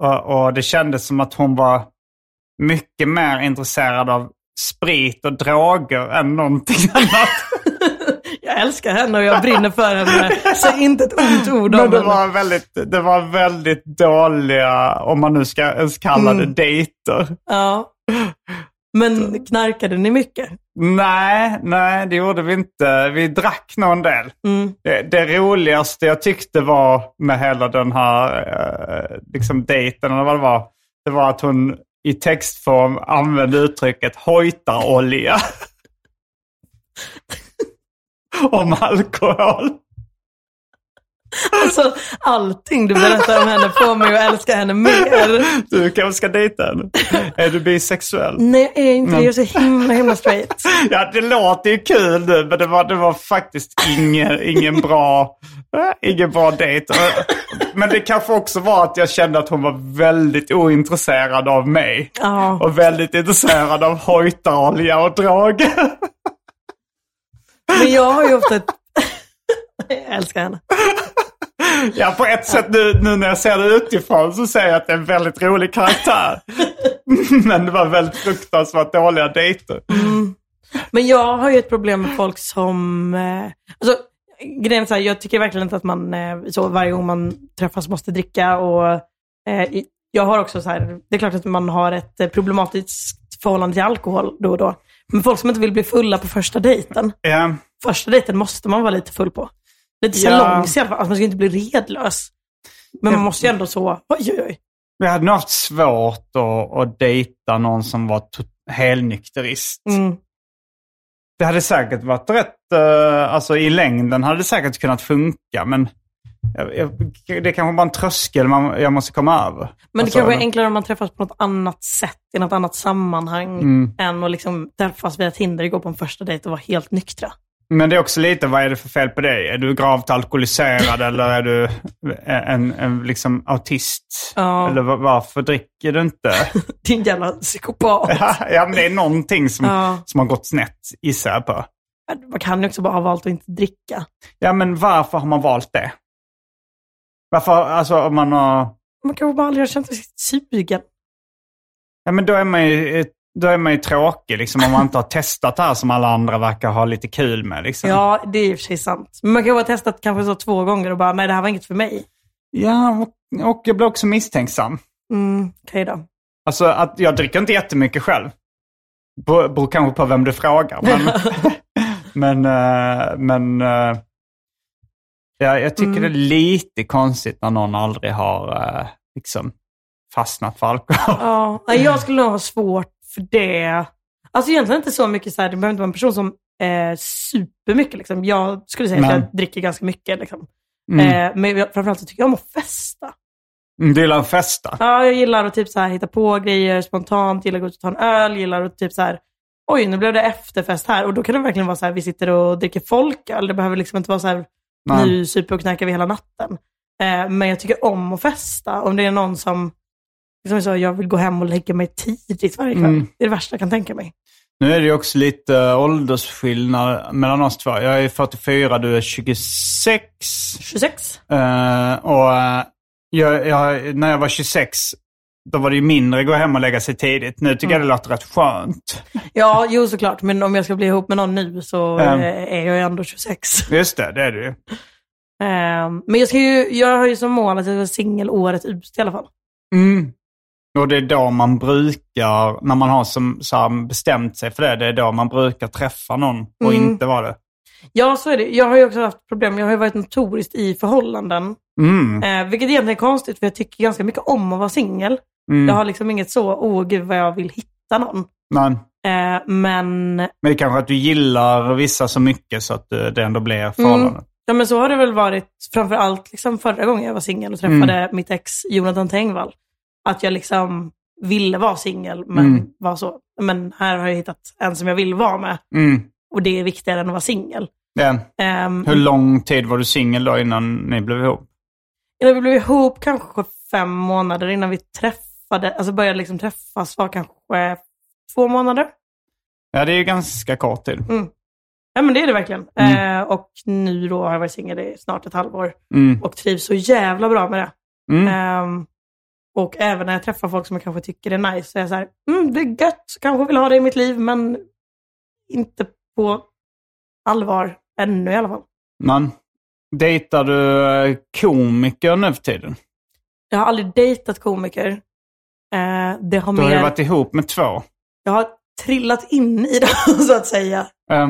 [SPEAKER 2] och, och det kändes som att hon var mycket mer intresserad av sprit och droger än någonting annat.
[SPEAKER 3] Jag älskar henne och jag brinner för henne. Säg inte ett ont ord om
[SPEAKER 2] Men det
[SPEAKER 3] henne.
[SPEAKER 2] var, väldigt, det var väldigt dåliga, om man nu ska ens kalla det
[SPEAKER 3] Mm.
[SPEAKER 2] dejter.
[SPEAKER 3] Ja. Men knarkade ni mycket?
[SPEAKER 2] Nej, nej det gjorde vi inte. Vi drack någon del.
[SPEAKER 3] Mm.
[SPEAKER 2] Det, det roligaste jag tyckte var med hela den här eh, liksom dejten, eller vad det var, det var att hon i textform använde uttrycket hojtarolja. Om alkohol.
[SPEAKER 3] Alltså, allting du berättar om henne får mig att älska henne mer.
[SPEAKER 2] Du kanske ska dejta henne? Är du bisexuell?
[SPEAKER 3] Nej, jag är inte det. Jag är så himla, himla straight.
[SPEAKER 2] Ja, det låter ju kul nu, men det var, det var faktiskt ingen, ingen bra, eh, ingen bra dejt. Eh, Men det kanske också var att jag kände att hon var väldigt ointresserad av mig.
[SPEAKER 3] Ja.
[SPEAKER 2] Och väldigt intresserad av hojtarolja och droger.
[SPEAKER 3] Men jag har ju ofta ett... Jag älskar henne.
[SPEAKER 2] Ja, på ett sätt nu, nu när jag ser det utifrån så ser jag att det är en väldigt rolig karaktär. Men det var väldigt fruktansvärt dåliga dejter.
[SPEAKER 3] Men jag har ju ett problem med folk som... Eh, alltså, grejen är så här, jag tycker verkligen inte att man eh, så varje gång man träffas måste dricka. Och, eh, i- jag har också så här, det är klart att man har ett eh, problematiskt förhållande till alkohol då och då. Men folk som inte vill bli fulla på första dejten.
[SPEAKER 2] Ja.
[SPEAKER 3] Första dejten måste man vara lite full på. Lite
[SPEAKER 2] Ja.
[SPEAKER 3] salongs i alla fall. Alltså, man ska inte bli redlös. Men man måste ju ändå så, oj oj oj.
[SPEAKER 2] Jag hade nog haft svårt att, att dejta någon som var to- helnykterist.
[SPEAKER 3] Mm.
[SPEAKER 2] Det hade säkert varit rätt, eh, alltså i längden hade det säkert kunnat funka, men jag, jag, det är kanske bara en tröskel man, jag måste komma över.
[SPEAKER 3] Men det
[SPEAKER 2] Alltså,
[SPEAKER 3] kanske är enklare om man träffas på något annat sätt, i något annat sammanhang,
[SPEAKER 2] Mm.
[SPEAKER 3] än att liksom träffas via Tinder, gå på en första dejt och vara helt nyktra.
[SPEAKER 2] Men det är också lite, vad är det för fel på dig? Är du gravt alkoholiserad eller är du en, en liksom autist?
[SPEAKER 3] Ja.
[SPEAKER 2] Eller va- varför dricker du inte?
[SPEAKER 3] Din jävla psykopat.
[SPEAKER 2] ja, men det är någonting som,
[SPEAKER 3] Ja.
[SPEAKER 2] som har gått snett, gissar jag på.
[SPEAKER 3] Man kan ju också bara ha valt att inte dricka.
[SPEAKER 2] Ja, men varför har man valt det? Varför, alltså om man har...
[SPEAKER 3] Man kanske bara aldrig har känt sig sugen.
[SPEAKER 2] Ja, men då är man ju, eh, då är man ju tråkig liksom, om man inte har testat det här som alla andra verkar ha lite kul med. Liksom.
[SPEAKER 3] Ja, det är i och för sig sant. Men man kan ju ha testat kanske så två gånger och bara, nej det här var inget för mig.
[SPEAKER 2] ja och, och jag blir också misstänksam.
[SPEAKER 3] Mm, okej då.
[SPEAKER 2] Alltså, att jag dricker inte jättemycket själv. Beror, beror kanske på vem du frågar. Men, men, eh, men eh, ja, jag
[SPEAKER 3] Mm.
[SPEAKER 2] tycker det är lite konstigt när någon aldrig har eh, liksom, fastnat för alkohol.
[SPEAKER 3] Ja, nej, jag skulle nog ha svårt för det. Alltså egentligen inte så mycket så här, det behöver inte vara en person som eh, supermycket liksom. Jag skulle säga
[SPEAKER 2] Nej.
[SPEAKER 3] att jag dricker ganska mycket liksom.
[SPEAKER 2] Mm.
[SPEAKER 3] Eh, men jag, framförallt så tycker jag om att festa.
[SPEAKER 2] Mm, Du gillar att festa?
[SPEAKER 3] Ja, jag gillar att typ så här, hitta på grejer spontant, gillar att gå ut och ta en öl, gillar att typ så här, oj nu blev det efterfest här. Och då kan det verkligen vara så här, vi sitter och dricker folköl. Det behöver liksom inte vara så här,
[SPEAKER 2] Nej.
[SPEAKER 3] nu super och knarkar vi hela natten. Eh, men jag tycker om att festa. Om det är någon som, som jag sa, jag vill gå hem och lägga mig tidigt varje kväll.
[SPEAKER 2] Mm.
[SPEAKER 3] Det är det värsta jag kan tänka mig.
[SPEAKER 2] Nu är det ju också lite eh, åldersskillnad mellan oss två. Jag är 44, du är 26.
[SPEAKER 3] 26?
[SPEAKER 2] Eh, och eh, jag, jag, när jag var 26, då var det ju mindre gå hem och lägga sig tidigt. Nu tycker
[SPEAKER 3] Mm.
[SPEAKER 2] jag det låter rätt skönt.
[SPEAKER 3] Ja, jo såklart. Men om jag ska bli ihop med någon nu så
[SPEAKER 2] Mm.
[SPEAKER 3] eh, är jag ju ändå 26.
[SPEAKER 2] Just det, det är det ju.
[SPEAKER 3] Ehm, men jag, ska ju, jag har ju som mål att jag ska vara singel året ut i alla fall.
[SPEAKER 2] Mm. Och det är då man brukar, när man har som, så här, bestämt sig för det, det är då man brukar träffa någon och
[SPEAKER 3] Mm.
[SPEAKER 2] inte vara det.
[SPEAKER 3] Ja, så är det. Jag har ju också haft problem. Jag har ju varit notoriskt i förhållanden.
[SPEAKER 2] Mm.
[SPEAKER 3] Eh, vilket egentligen är konstigt, för jag tycker ganska mycket om att vara singel. Jag
[SPEAKER 2] Mm.
[SPEAKER 3] har liksom inget så, åh gud vad jag vill hitta någon.
[SPEAKER 2] Men,
[SPEAKER 3] Eh, men,
[SPEAKER 2] men det är kanske att du gillar vissa så mycket så att eh, det ändå
[SPEAKER 3] Mm.
[SPEAKER 2] blir förhållandet.
[SPEAKER 3] ja, men så har det väl varit framförallt liksom förra gången jag var singel och träffade mitt ex Jonathan Tengvall. Att jag liksom ville vara singel, men
[SPEAKER 2] Mm.
[SPEAKER 3] var så. Men här har jag hittat en som jag vill vara med
[SPEAKER 2] Mm.
[SPEAKER 3] och det är viktigare än att vara singel.
[SPEAKER 2] Ja.
[SPEAKER 3] Ehm,
[SPEAKER 2] Hur lång tid var du singel då innan ni blev ihop?
[SPEAKER 3] Innan vi blev ihop kanske fem månader innan vi träffade, alltså började liksom träffas var kanske två månader.
[SPEAKER 2] Ja, det är ju ganska kort tid.
[SPEAKER 3] Ja men det är det verkligen. Eh, och nu då har jag varit singel i snart ett halvår
[SPEAKER 2] Mm.
[SPEAKER 3] och trivs så jävla bra med det.
[SPEAKER 2] Mm.
[SPEAKER 3] Ehm, och även när jag träffar folk som jag kanske tycker är nice så är jag så här, mm, det är gött, kanske vill ha det i mitt liv men inte på allvar ännu i alla fall.
[SPEAKER 2] Men, dejtar du eh, komiker nu för tiden?
[SPEAKER 3] Jag har aldrig dejtat komiker. Eh, det har
[SPEAKER 2] Du har
[SPEAKER 3] mer...
[SPEAKER 2] ju varit ihop med två.
[SPEAKER 3] Jag har trillat in i dem så att säga.
[SPEAKER 2] Eh,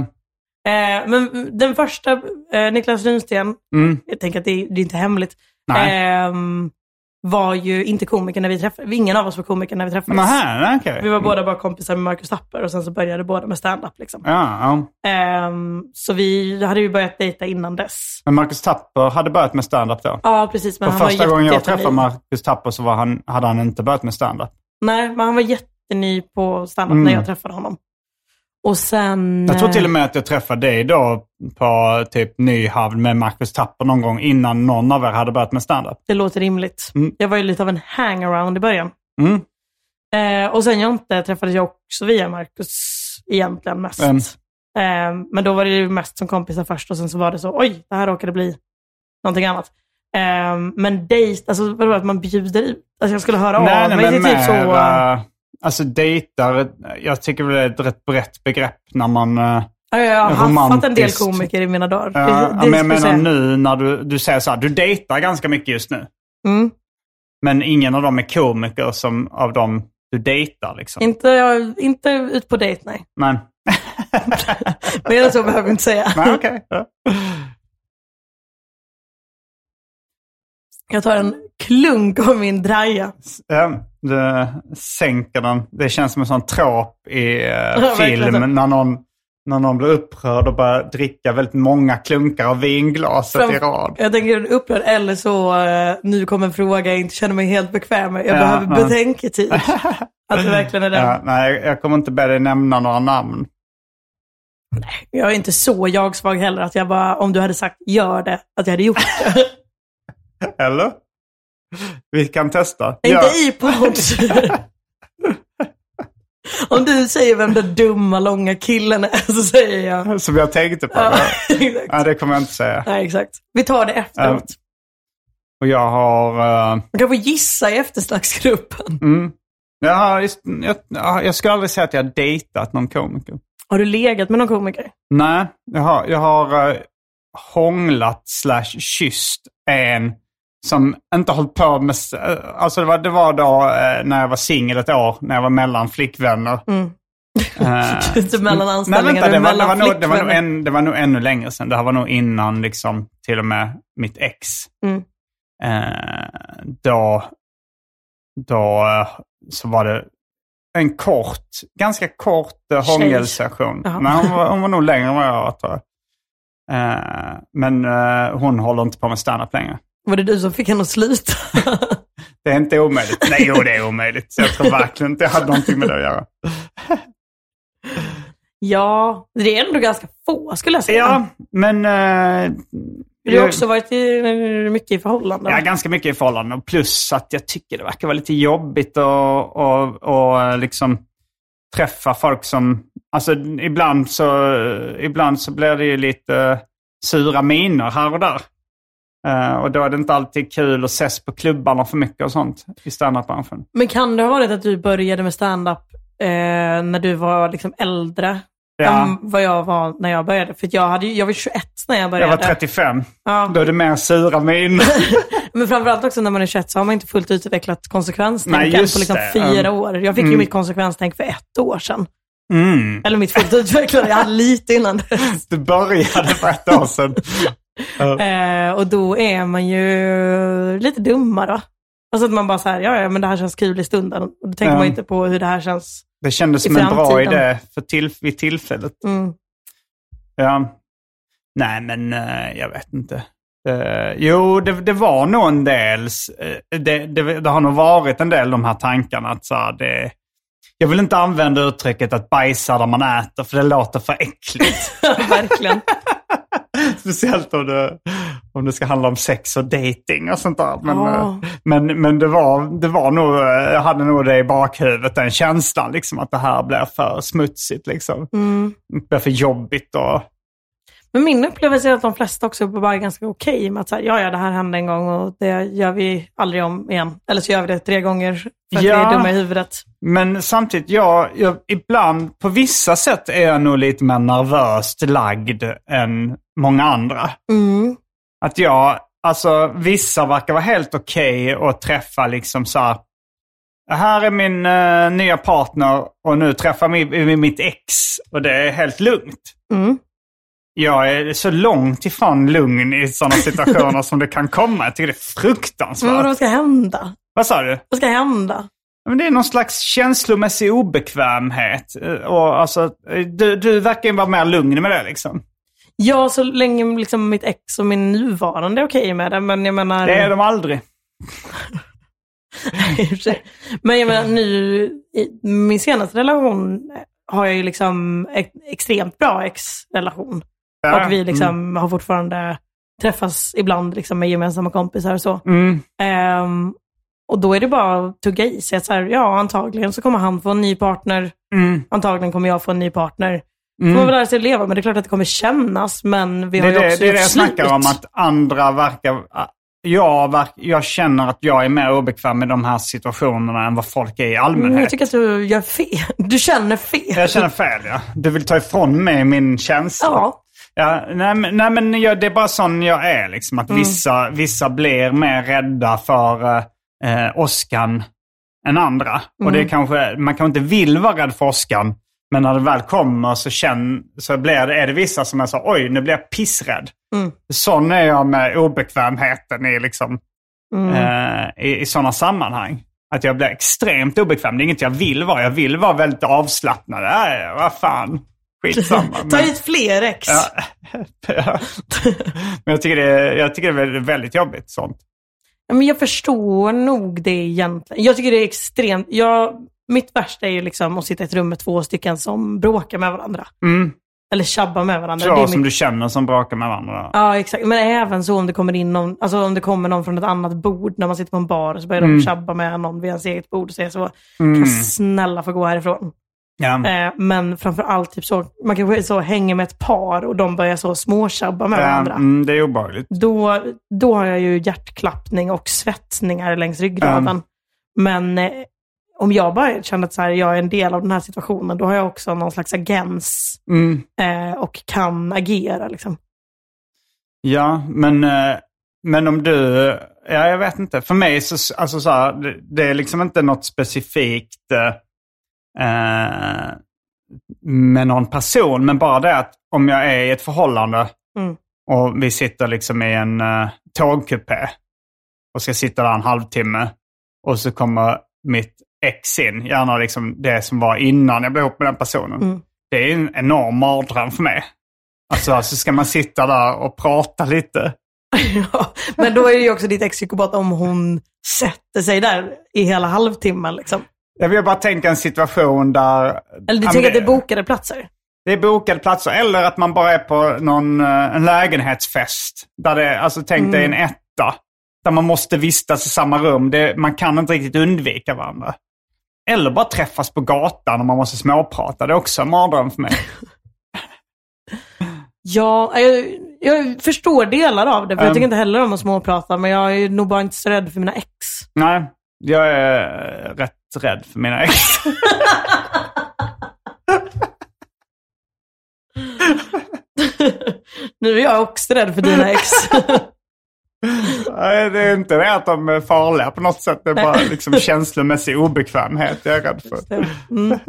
[SPEAKER 3] Eh, men den första, eh, Niklas Runsten,
[SPEAKER 2] Mm.
[SPEAKER 3] jag tänker att det, det är inte hemligt,
[SPEAKER 2] Nej.
[SPEAKER 3] ehm, var ju inte komiker när vi träffades. Ingen av oss var komiker när vi träffades.
[SPEAKER 2] Nähä, Mm. nej, okej.
[SPEAKER 3] Vi var båda bara kompisar med Marcus Tapper och sen så började båda med stand-up. Liksom.
[SPEAKER 2] Ja, ja.
[SPEAKER 3] Ehm, så vi hade ju börjat dejta innan dess.
[SPEAKER 2] Men Marcus Tapper hade börjat med stand-up då?
[SPEAKER 3] Ja, precis. Men
[SPEAKER 2] För
[SPEAKER 3] han var
[SPEAKER 2] första gången jag
[SPEAKER 3] jätteny.
[SPEAKER 2] träffade Marcus Tapper så var han, hade han inte börjat med stand-up.
[SPEAKER 3] Nej, men han var jätteny på stand-up
[SPEAKER 2] Mm.
[SPEAKER 3] när jag träffade honom. Och sen...
[SPEAKER 2] Jag tror till och
[SPEAKER 3] eh,
[SPEAKER 2] med att jag träffade dig då på typ Nyhavn med Marcus Tapper någon gång innan någon av er hade börjat med stand-up.
[SPEAKER 3] Det låter rimligt.
[SPEAKER 2] Mm.
[SPEAKER 3] Jag var ju lite av en hangaround i början.
[SPEAKER 2] Mm.
[SPEAKER 3] Eh, och sen Jonte träffades jag också via Marcus egentligen mest.
[SPEAKER 2] Mm.
[SPEAKER 3] Eh, men då var det ju mest som kompisar först och sen så var det så, oj, det här råkade bli någonting annat. Eh, men dejt, alltså vadå att man bjuder ut? Alltså jag skulle höra av mig. det är typ så, eh,
[SPEAKER 2] mera, alltså dejtar, jag tycker väl det är ett rätt brett begrepp när man... eh,
[SPEAKER 3] ja, jag har haffat en del
[SPEAKER 2] romantiskt.
[SPEAKER 3] komiker i mina dagar.
[SPEAKER 2] ja,
[SPEAKER 3] Det- det
[SPEAKER 2] men jag
[SPEAKER 3] skulle säga.
[SPEAKER 2] menar nu när du, du säger så här, du dejtar ganska mycket just nu.
[SPEAKER 3] Mm.
[SPEAKER 2] Men ingen av dem är komiker som av dem du dejtar liksom.
[SPEAKER 3] Inte, jag- inte ut på dejt, nej.
[SPEAKER 2] Men,
[SPEAKER 3] Mer än så behöver vi inte säga.
[SPEAKER 2] men okej. Ja.
[SPEAKER 3] Jag tar en klunk av min draja.
[SPEAKER 2] Ehm, Du sänker den. Det känns som en sån trop i eh,
[SPEAKER 3] verkligen.
[SPEAKER 2] film när någon, när någon blir upprörd och börjar dricka väldigt många klunkar av vinglaset i rad.
[SPEAKER 3] Jag tänker upprörd eller så, eh, nu kommer en fråga jag inte känner mig helt bekväm med. Jag
[SPEAKER 2] Ja,
[SPEAKER 3] behöver
[SPEAKER 2] ja.
[SPEAKER 3] betänketid. Att det verkligen är den.
[SPEAKER 2] Ja, nej, jag kommer inte be dig nämna några namn.
[SPEAKER 3] Jag är inte så jag-svag heller att jag bara, om du hade sagt gör det, att jag hade gjort det.
[SPEAKER 2] Eller? Vi kan testa.
[SPEAKER 3] Inte i podd. om du säger vem den dumma, långa killen är så säger jag.
[SPEAKER 2] Som jag tänkte på.
[SPEAKER 3] Ja,
[SPEAKER 2] det.
[SPEAKER 3] exakt.
[SPEAKER 2] Nej, det kommer jag inte säga.
[SPEAKER 3] Nej, exakt. Vi tar det efteråt.
[SPEAKER 2] Och jag har... eh,
[SPEAKER 3] Man kan få gissa i eftersnacksgruppen.
[SPEAKER 2] Jag, har just, jag, ja, jag skulle aldrig säga att jag har dejtat någon komiker.
[SPEAKER 3] Har du legat med någon komiker?
[SPEAKER 2] Nej, jag har, jag har eh, hånglat slash kysst en som inte hållit på med... s- eh, Alltså det var, det var då eh, när jag var singel ett år, när jag var mellan flickvänner. Eh,
[SPEAKER 3] Mm. Inte mellan
[SPEAKER 2] Nej,
[SPEAKER 3] anställningar,
[SPEAKER 2] vänta, det
[SPEAKER 3] du
[SPEAKER 2] var, det, var
[SPEAKER 3] mellan
[SPEAKER 2] nog, det, var nog
[SPEAKER 3] flickvänner.
[SPEAKER 2] en, det var nog ännu längre sedan. Det här var nog innan liksom, till och med mitt ex.
[SPEAKER 3] Mm.
[SPEAKER 2] Eh, då då eh, så var det en kort, ganska kort eh,
[SPEAKER 3] Tjej.
[SPEAKER 2] hångelsession.
[SPEAKER 3] Jaha.
[SPEAKER 2] Men hon, var, hon var nog längre än vad jag var, tror jag. Eh, men eh, hon håller inte på med standup längre.
[SPEAKER 3] Var det du som fick henne att sluta?
[SPEAKER 2] Det är inte omöjligt. Nej, jo, det är omöjligt. Så jag tror verkligen inte jag hade någonting med det att göra.
[SPEAKER 3] ja, det är ändå ganska få skulle jag säga.
[SPEAKER 2] Ja, men... eh,
[SPEAKER 3] Du har
[SPEAKER 2] jag-
[SPEAKER 3] också varit i, mycket i förhållanden.
[SPEAKER 2] Ja, ganska mycket i förhållanden. Plus att jag tycker det verkar vara lite jobbigt att och, och liksom träffa folk som... Alltså ibland så, ibland så blir det ju lite sura miner här och där. Eh, och då är det inte alltid kul att ses på klubbarna för mycket och sånt i standupbranschen.
[SPEAKER 3] Men kan det ha varit att du började med stand-up eh, när du var liksom äldre?
[SPEAKER 2] Ja.
[SPEAKER 3] Än vad jag var när jag började. För att jag, hade, ju- jag var 21 när jag
[SPEAKER 2] Jag
[SPEAKER 3] började.
[SPEAKER 2] var 35.
[SPEAKER 3] Ja.
[SPEAKER 2] Då är det mer sura miner.
[SPEAKER 3] Men framförallt också när man är 21 så har man inte fullt utvecklat konsekvenstänken
[SPEAKER 2] Nej, just
[SPEAKER 3] på liksom
[SPEAKER 2] det.
[SPEAKER 3] fyra
[SPEAKER 2] Mm.
[SPEAKER 3] år. Jag fick ju mitt konsekvenstänk för ett år sedan.
[SPEAKER 2] Mm.
[SPEAKER 3] Eller mitt fullt utvecklade, jag hade lite innan dess.
[SPEAKER 2] Det började för ett år sedan.
[SPEAKER 3] Eh, och då är man ju lite dummare. Alltså att man bara så här, ja, ja men det här känns kul i stunden. Och då tänker
[SPEAKER 2] Ja.
[SPEAKER 3] man inte på hur det här känns.
[SPEAKER 2] Det kändes
[SPEAKER 3] I
[SPEAKER 2] som en bra
[SPEAKER 3] framtiden.
[SPEAKER 2] idé för till, vid tillfället.
[SPEAKER 3] Mm.
[SPEAKER 2] Ja. Nej, men eh, jag vet inte. Eh, jo, det, det var nog en del. s- eh, det, det, det har nog varit en del de här tankarna att så här, det, Jag vill inte använda uttrycket att bajsa där man äter, för det låter för äckligt.
[SPEAKER 3] Verkligen.
[SPEAKER 2] Speciellt om det, om det ska handla om sex och dating och sånt där. Men,
[SPEAKER 3] Ja.
[SPEAKER 2] eh, men, men det var, det var nog, eh, jag hade nog det i bakhuvudet, den känslan liksom, att det här blir för smutsigt. Liksom. Det blir för jobbigt. Och,
[SPEAKER 3] Men min upplevelse är att de flesta också bara är ganska okej med att så här, ja, ja, det här hände en gång och det gör vi aldrig om igen. Eller så gör vi det tre gånger för att vi
[SPEAKER 2] Ja.
[SPEAKER 3] är dumma i huvudet.
[SPEAKER 2] Men samtidigt, jag, jag, ibland, på vissa sätt är jag nog lite mer nervöst lagd än många andra.
[SPEAKER 3] Mm.
[SPEAKER 2] Att jag, alltså vissa verkar vara helt okej att träffa liksom så här, här är min eh, nya partner och nu träffar mi- mi- mitt ex och det är helt lugnt.
[SPEAKER 3] Mm.
[SPEAKER 2] Jag är så långt ifrån lugn i sådana situationer som det kan komma. Jag tycker det är
[SPEAKER 3] Mm, Men
[SPEAKER 2] fruktansvärt.
[SPEAKER 3] vadå, vad ska hända?
[SPEAKER 2] Vad sa du?
[SPEAKER 3] Vad ska hända?
[SPEAKER 2] Men det är någon slags känslomässig obekvämhet. Eh, Och alltså, eh, du, du verkar ju vara mer lugn med det liksom.
[SPEAKER 3] Ja, så länge liksom mitt ex och min nuvarande är okej med det, men jag menar...
[SPEAKER 2] Det är de aldrig.
[SPEAKER 3] i och för sig. men jag menar nu, i min senaste relation har jag ju liksom ett extremt bra ex-relation.
[SPEAKER 2] Ja. Mm.
[SPEAKER 3] Och vi liksom har fortfarande träffas ibland liksom med gemensamma kompisar och så.
[SPEAKER 2] Mm.
[SPEAKER 3] Ehm, och då är det bara att tugga i sig. att Så här, ja, antagligen så kommer han få en ny partner.
[SPEAKER 2] Mm.
[SPEAKER 3] Antagligen kommer jag få en ny partner.
[SPEAKER 2] Mm.
[SPEAKER 3] Får man väl lära sig att leva med. Det är klart att det kommer kännas, men vi
[SPEAKER 2] Det är
[SPEAKER 3] har ju
[SPEAKER 2] det,
[SPEAKER 3] också
[SPEAKER 2] det, är det
[SPEAKER 3] gjort
[SPEAKER 2] jag
[SPEAKER 3] slut.
[SPEAKER 2] snackar om, att andra verkar... ah, Jag, verk, jag känner att jag är mer obekväm med de här situationerna än vad folk är i
[SPEAKER 3] Mm,
[SPEAKER 2] allmänhet.
[SPEAKER 3] Jag tycker att du gör fel. Du känner fel.
[SPEAKER 2] Jag känner fel, ja. Du vill ta ifrån mig min känsla.
[SPEAKER 3] Ja.
[SPEAKER 2] Ja, nej, men- nej men jag, det är bara sån jag är. Liksom, att vissa, vissa blir mer rädda för eh, eh, åskan än andra. Och det är kanske, man kanske inte vill vara rädd för åskan, men när det väl kommer så, känn, så blir det, är det vissa som är så oj, nu blir jag pissrädd.
[SPEAKER 3] Mm.
[SPEAKER 2] Sån är jag med obekvämheten i, liksom, eh, i, i sådana sammanhang. Att jag blir extremt obekväm. Det är inget jag vill vara. Jag vill vara väldigt avslappnad. Äh, vad fan. Skitsamma.
[SPEAKER 3] Ta
[SPEAKER 2] Men,
[SPEAKER 3] hit fler ex.
[SPEAKER 2] Ja. men jag, tycker det, jag tycker det är väldigt jobbigt sånt.
[SPEAKER 3] Ja, men jag förstår nog det egentligen. Jag tycker det är extremt... Jag, mitt värsta är ju liksom att sitta i ett rum med två stycken som bråkar med varandra.
[SPEAKER 2] Mm.
[SPEAKER 3] Eller tjabbar med varandra.
[SPEAKER 2] Två
[SPEAKER 3] det är
[SPEAKER 2] som
[SPEAKER 3] mitt-
[SPEAKER 2] du känner som bråkar med varandra.
[SPEAKER 3] Ja, exakt. Men även så om det kommer in någon, alltså om det kommer någon från ett annat bord när man sitter på en bar och så börjar
[SPEAKER 2] Mm.
[SPEAKER 3] de tjabba med någon vid ens eget bord och säger så.
[SPEAKER 2] Mm.
[SPEAKER 3] Snälla få gå härifrån.
[SPEAKER 2] Ja.
[SPEAKER 3] Eh, men framför allt typ så, man kanske så hänger med ett par och de börjar så småtjabba med varandra.
[SPEAKER 2] Ja, mm, det är obehagligt.
[SPEAKER 3] Då, då har jag ju hjärtklappning och svettningar längs ryggraden.
[SPEAKER 2] Mm.
[SPEAKER 3] Men eh, om jag bara känner att så här, jag är en del av den här situationen, då har jag också någon slags agens
[SPEAKER 2] Mm.
[SPEAKER 3] eh, och kan agera. Liksom.
[SPEAKER 2] Ja, men, eh, men om du... Ja, jag vet inte. För mig så, alltså så här, det, det är liksom inte något specifikt eh, eh, med någon person. Men bara det att om jag är i ett förhållande
[SPEAKER 3] Mm.
[SPEAKER 2] och vi sitter liksom i en uh, tågkupé och ska sitta där en halvtimme och så kommer mitt ex in, gärna liksom det som var innan jag blev ihop med den personen.
[SPEAKER 3] Mm.
[SPEAKER 2] Det är ju en enorm mardröm för mig. Alltså, alltså ska man sitta där och prata lite?
[SPEAKER 3] Ja, men då är det ju också ditt ex psykopat om hon sätter sig där i hela halvtimmen. Liksom.
[SPEAKER 2] Jag vill bara tänka en situation där...
[SPEAKER 3] Eller
[SPEAKER 2] Ja,
[SPEAKER 3] du
[SPEAKER 2] men
[SPEAKER 3] tänker att det är bokade platser?
[SPEAKER 2] det är bokade platser. Eller att man bara är på någon, eh, en lägenhetsfest. Där det, alltså tänk dig
[SPEAKER 3] Mm.
[SPEAKER 2] en etta. Där man måste vistas i samma rum. Det, man kan inte riktigt undvika varandra. Eller bara träffas på gatan och man måste småprata. Det är också en mardröm för mig.
[SPEAKER 3] Ja, jag, jag förstår delar av det. För
[SPEAKER 2] Ehm.
[SPEAKER 3] Jag tycker inte heller om att småprata, men jag är nog bara inte så rädd för mina ex.
[SPEAKER 2] Nej, jag är eh, rätt rädd för mina ex.
[SPEAKER 3] Nu är jag också rädd för dina ex.
[SPEAKER 2] Nej, det är inte det att de är farliga på något sätt. Det är bara liksom känslomässig obekvämhet jag är rädd för.
[SPEAKER 3] Mm.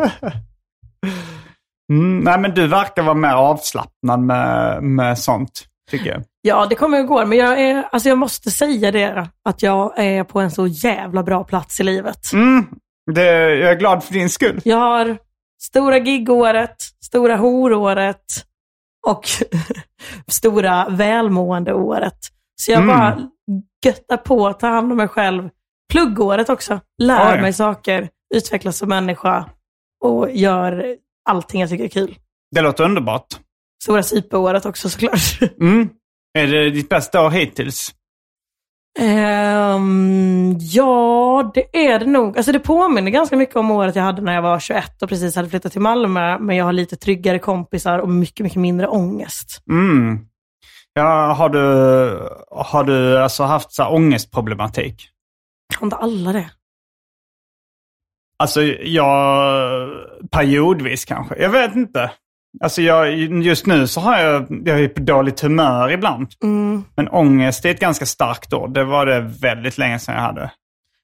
[SPEAKER 2] Mm, nej, men du verkar vara mer avslappnad med, med sånt, tycker jag.
[SPEAKER 3] Ja, det kommer och går, men jag, är, alltså jag måste säga det. Att jag är på en så jävla bra plats i livet.
[SPEAKER 2] Mm, det, jag är glad för din skull.
[SPEAKER 3] Jag har stora gigåret, stora horåret och stora välmåendeåret. Så jag
[SPEAKER 2] Mm.
[SPEAKER 3] bara göttar på, tar hand om mig själv. Pluggåret också. Lär
[SPEAKER 2] Oj.
[SPEAKER 3] mig saker, utvecklas som människa och gör allting jag tycker är kul.
[SPEAKER 2] Det låter underbart.
[SPEAKER 3] Stora superåret också såklart.
[SPEAKER 2] Mm. Är det ditt bästa år hittills?
[SPEAKER 3] Ehm, ja, det är det nog. Alltså det påminner ganska mycket om året jag hade när jag var 21 och precis hade flyttat till Malmö. Men jag har lite tryggare kompisar och mycket, mycket mindre ångest.
[SPEAKER 2] Mm. Ja, har du, har du alltså haft så här ångestproblematik?
[SPEAKER 3] Har inte alla det?
[SPEAKER 2] Alltså, jag... Periodvis kanske. Jag vet inte. Alltså, jag, just nu så har jag, jag är på dåligt humör ibland.
[SPEAKER 3] Mm.
[SPEAKER 2] Men ångest är ett ganska starkt ord. Det var det väldigt länge sedan jag hade.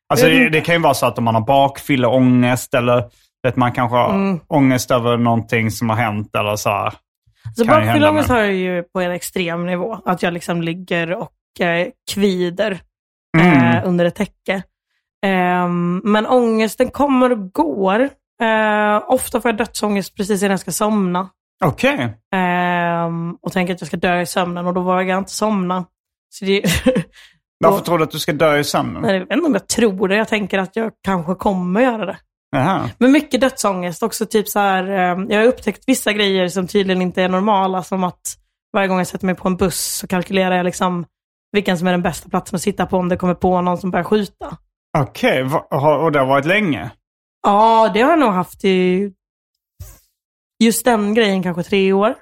[SPEAKER 2] Alltså,
[SPEAKER 3] Jag vet
[SPEAKER 2] det,
[SPEAKER 3] inte.
[SPEAKER 2] det kan ju vara så att om man har bakfylla ångest eller att man kanske har
[SPEAKER 3] Mm.
[SPEAKER 2] ångest över någonting som har hänt eller så här.
[SPEAKER 3] Alltså
[SPEAKER 2] Kan ju hända,
[SPEAKER 3] bakfylleångest
[SPEAKER 2] men-
[SPEAKER 3] har jag ju på en extrem nivå. Att jag liksom ligger och eh, kvider
[SPEAKER 2] Mm.
[SPEAKER 3] eh, under ett täcke. Ehm, men ångesten kommer och går. Eh, ofta får jag dödsångest precis innan jag ska somna.
[SPEAKER 2] Okej.
[SPEAKER 3] Ehm, och tänker att jag ska dö i sömnen och då vågar jag inte somna. Så det,
[SPEAKER 2] Varför
[SPEAKER 3] Och-
[SPEAKER 2] tror du att du ska dö i sömnen?
[SPEAKER 3] Nej, jag vet inte om jag tror det, jag tänker att jag kanske kommer göra det.
[SPEAKER 2] Jaha.
[SPEAKER 3] Men mycket dödsångest också. Typ så här, ehm, jag har upptäckt vissa grejer som tydligen inte är normala, som att varje gång jag sätter mig på en buss så kalkylerar jag liksom vilken som är den bästa platsen att sitta på om det kommer på någon som börjar skjuta.
[SPEAKER 2] Okej, va- har- och det har varit länge?
[SPEAKER 3] Ja, det har jag nog haft i just den grejen kanske tre år.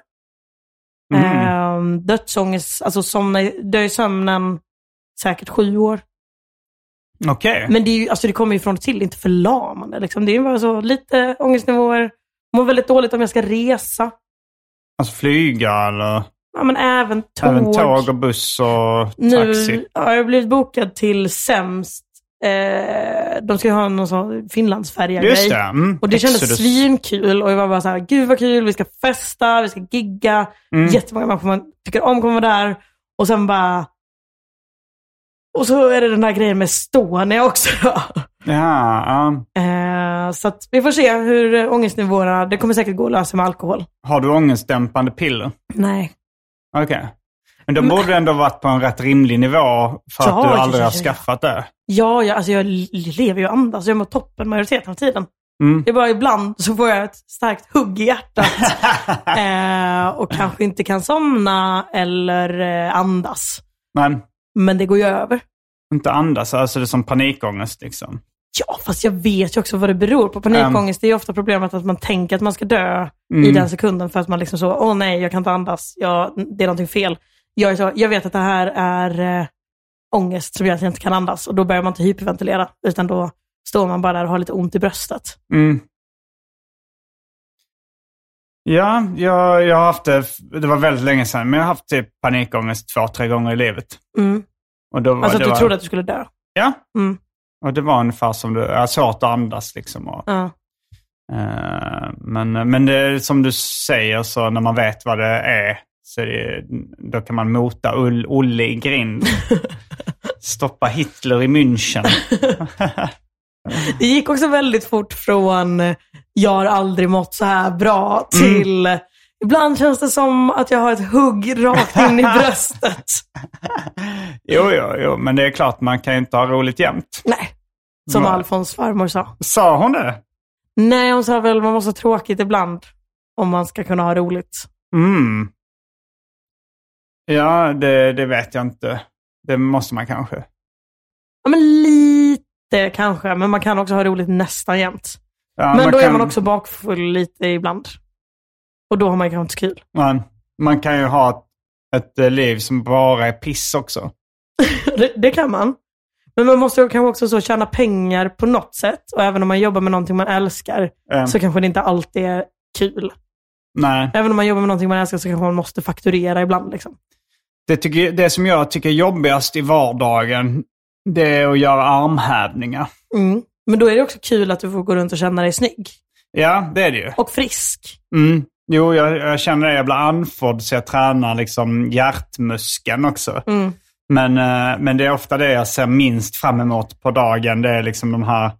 [SPEAKER 2] Mm.
[SPEAKER 3] Ehm, dödsångest, alltså somna, i- dö i sömnen säkert sju år.
[SPEAKER 2] Okej.
[SPEAKER 3] Men det, är ju, alltså det kommer ju från och till, inte förlamande. Liksom. Det är bara så lite ångestnivåer, mår väldigt dåligt om jag ska resa.
[SPEAKER 2] Alltså flyga eller
[SPEAKER 3] Ja, men även tåg.
[SPEAKER 2] även tåg och buss och taxi?
[SPEAKER 3] Nu har jag blivit bokad till sämst. Eh, de ska ju ha någon sån Finlandsfärja-grej.
[SPEAKER 2] Just det. Mm.
[SPEAKER 3] Och det kändes
[SPEAKER 2] Exodus.
[SPEAKER 3] svinkul och jag var bara så här, gud vad kul, vi ska festa, vi ska gigga.
[SPEAKER 2] Mm.
[SPEAKER 3] Jättemånga människor man tycker om kommer vara där. Och sen bara... Och så är det den här grejen med Estonia också.
[SPEAKER 2] Ja, ja.
[SPEAKER 3] Eh, så att vi får se hur ångestnivåerna... Det kommer säkert gå att lösa med alkohol.
[SPEAKER 2] Har du ångestdämpande piller?
[SPEAKER 3] Nej.
[SPEAKER 2] Okej. Men då borde du ändå varit på en rätt rimlig nivå för att
[SPEAKER 3] Mm. Ja,
[SPEAKER 2] du
[SPEAKER 3] ja,
[SPEAKER 2] aldrig
[SPEAKER 3] ja,
[SPEAKER 2] har
[SPEAKER 3] ja.
[SPEAKER 2] skaffat det.
[SPEAKER 3] Ja, jag, alltså jag lever ju och andas. Jag mår toppen majoriteten av tiden.
[SPEAKER 2] Mm.
[SPEAKER 3] Det är bara ibland så får jag ett starkt hugg i hjärtat eh, och kanske inte kan somna eller eh, andas.
[SPEAKER 2] Men
[SPEAKER 3] Men det går ju över.
[SPEAKER 2] inte andas, alltså det är som panikångest liksom.
[SPEAKER 3] Ja, fast jag vet ju också vad det beror på. Panikångest det är ju ofta problemet att man tänker att man ska dö
[SPEAKER 2] Mm.
[SPEAKER 3] i den sekunden för att man liksom så, åh nej, jag kan inte andas. Jag, det är någonting fel. Jag, är så, jag vet att det här är eh, ångest som gör att jag inte kan andas och då börjar man inte hyperventilera utan då står man bara där och har lite ont i bröstet.
[SPEAKER 2] Mm. Ja, jag, jag har haft det, det var väldigt länge sedan, men jag har haft typ panikångest två, tre gånger i livet.
[SPEAKER 3] Mm.
[SPEAKER 2] Och då var,
[SPEAKER 3] Alltså att
[SPEAKER 2] det
[SPEAKER 3] du
[SPEAKER 2] var,
[SPEAKER 3] trodde att du skulle dö.
[SPEAKER 2] Ja,
[SPEAKER 3] Mm.
[SPEAKER 2] och det var ungefär som du, jag har svårt att andas liksom. Och,
[SPEAKER 3] Ja.
[SPEAKER 2] eh, men men det, är som du säger, så när man vet vad det är, så är det, då kan man mota Ull, Olle i grind. Stoppa Hitler i München.
[SPEAKER 3] Det gick också väldigt fort från eh, jag har aldrig mått så här bra
[SPEAKER 2] Mm.
[SPEAKER 3] till eh, ibland känns det som att jag har ett hugg rakt in i bröstet.
[SPEAKER 2] Jo, jo, jo, men det är klart man kan ju inte ha roligt jämt.
[SPEAKER 3] Nej, som
[SPEAKER 2] Nej.
[SPEAKER 3] Alfons farmor sa.
[SPEAKER 2] Sa hon det?
[SPEAKER 3] Nej, hon sa väl man måste ha tråkigt ibland om man ska kunna ha roligt.
[SPEAKER 2] Mm. Ja, det, det vet jag inte. Det måste man kanske.
[SPEAKER 3] Ja, men lite kanske, men man kan också ha roligt nästan jämt.
[SPEAKER 2] Ja,
[SPEAKER 3] men då är
[SPEAKER 2] kan,
[SPEAKER 3] man också bakfull lite ibland. Och då har man kanske inte så kul.
[SPEAKER 2] Man, man kan ju ha ett, ett eh, liv som bara är piss också.
[SPEAKER 3] Det, det kan man. Men man måste ju kanske också så tjäna pengar på något sätt. Och även om man jobbar med någonting man älskar
[SPEAKER 2] Eh,
[SPEAKER 3] så kanske det inte alltid är kul.
[SPEAKER 2] Nej,
[SPEAKER 3] Även om man jobbar med någonting man älskar så kanske man måste fakturera ibland. Liksom.
[SPEAKER 2] det, tycker, det som jag tycker är jobbigast i vardagen, det är att göra armhävningar.
[SPEAKER 3] Mm. Men då är det också kul att du får gå runt och känna dig snygg
[SPEAKER 2] Ja, det är det ju.
[SPEAKER 3] och frisk.
[SPEAKER 2] Mm. Jo, jag, jag känner det. Jag blir andfådd så jag tränar liksom hjärtmuskeln också.
[SPEAKER 3] Mm.
[SPEAKER 2] Men, eh, men det är ofta det jag ser minst fram emot på dagen. Det är liksom de här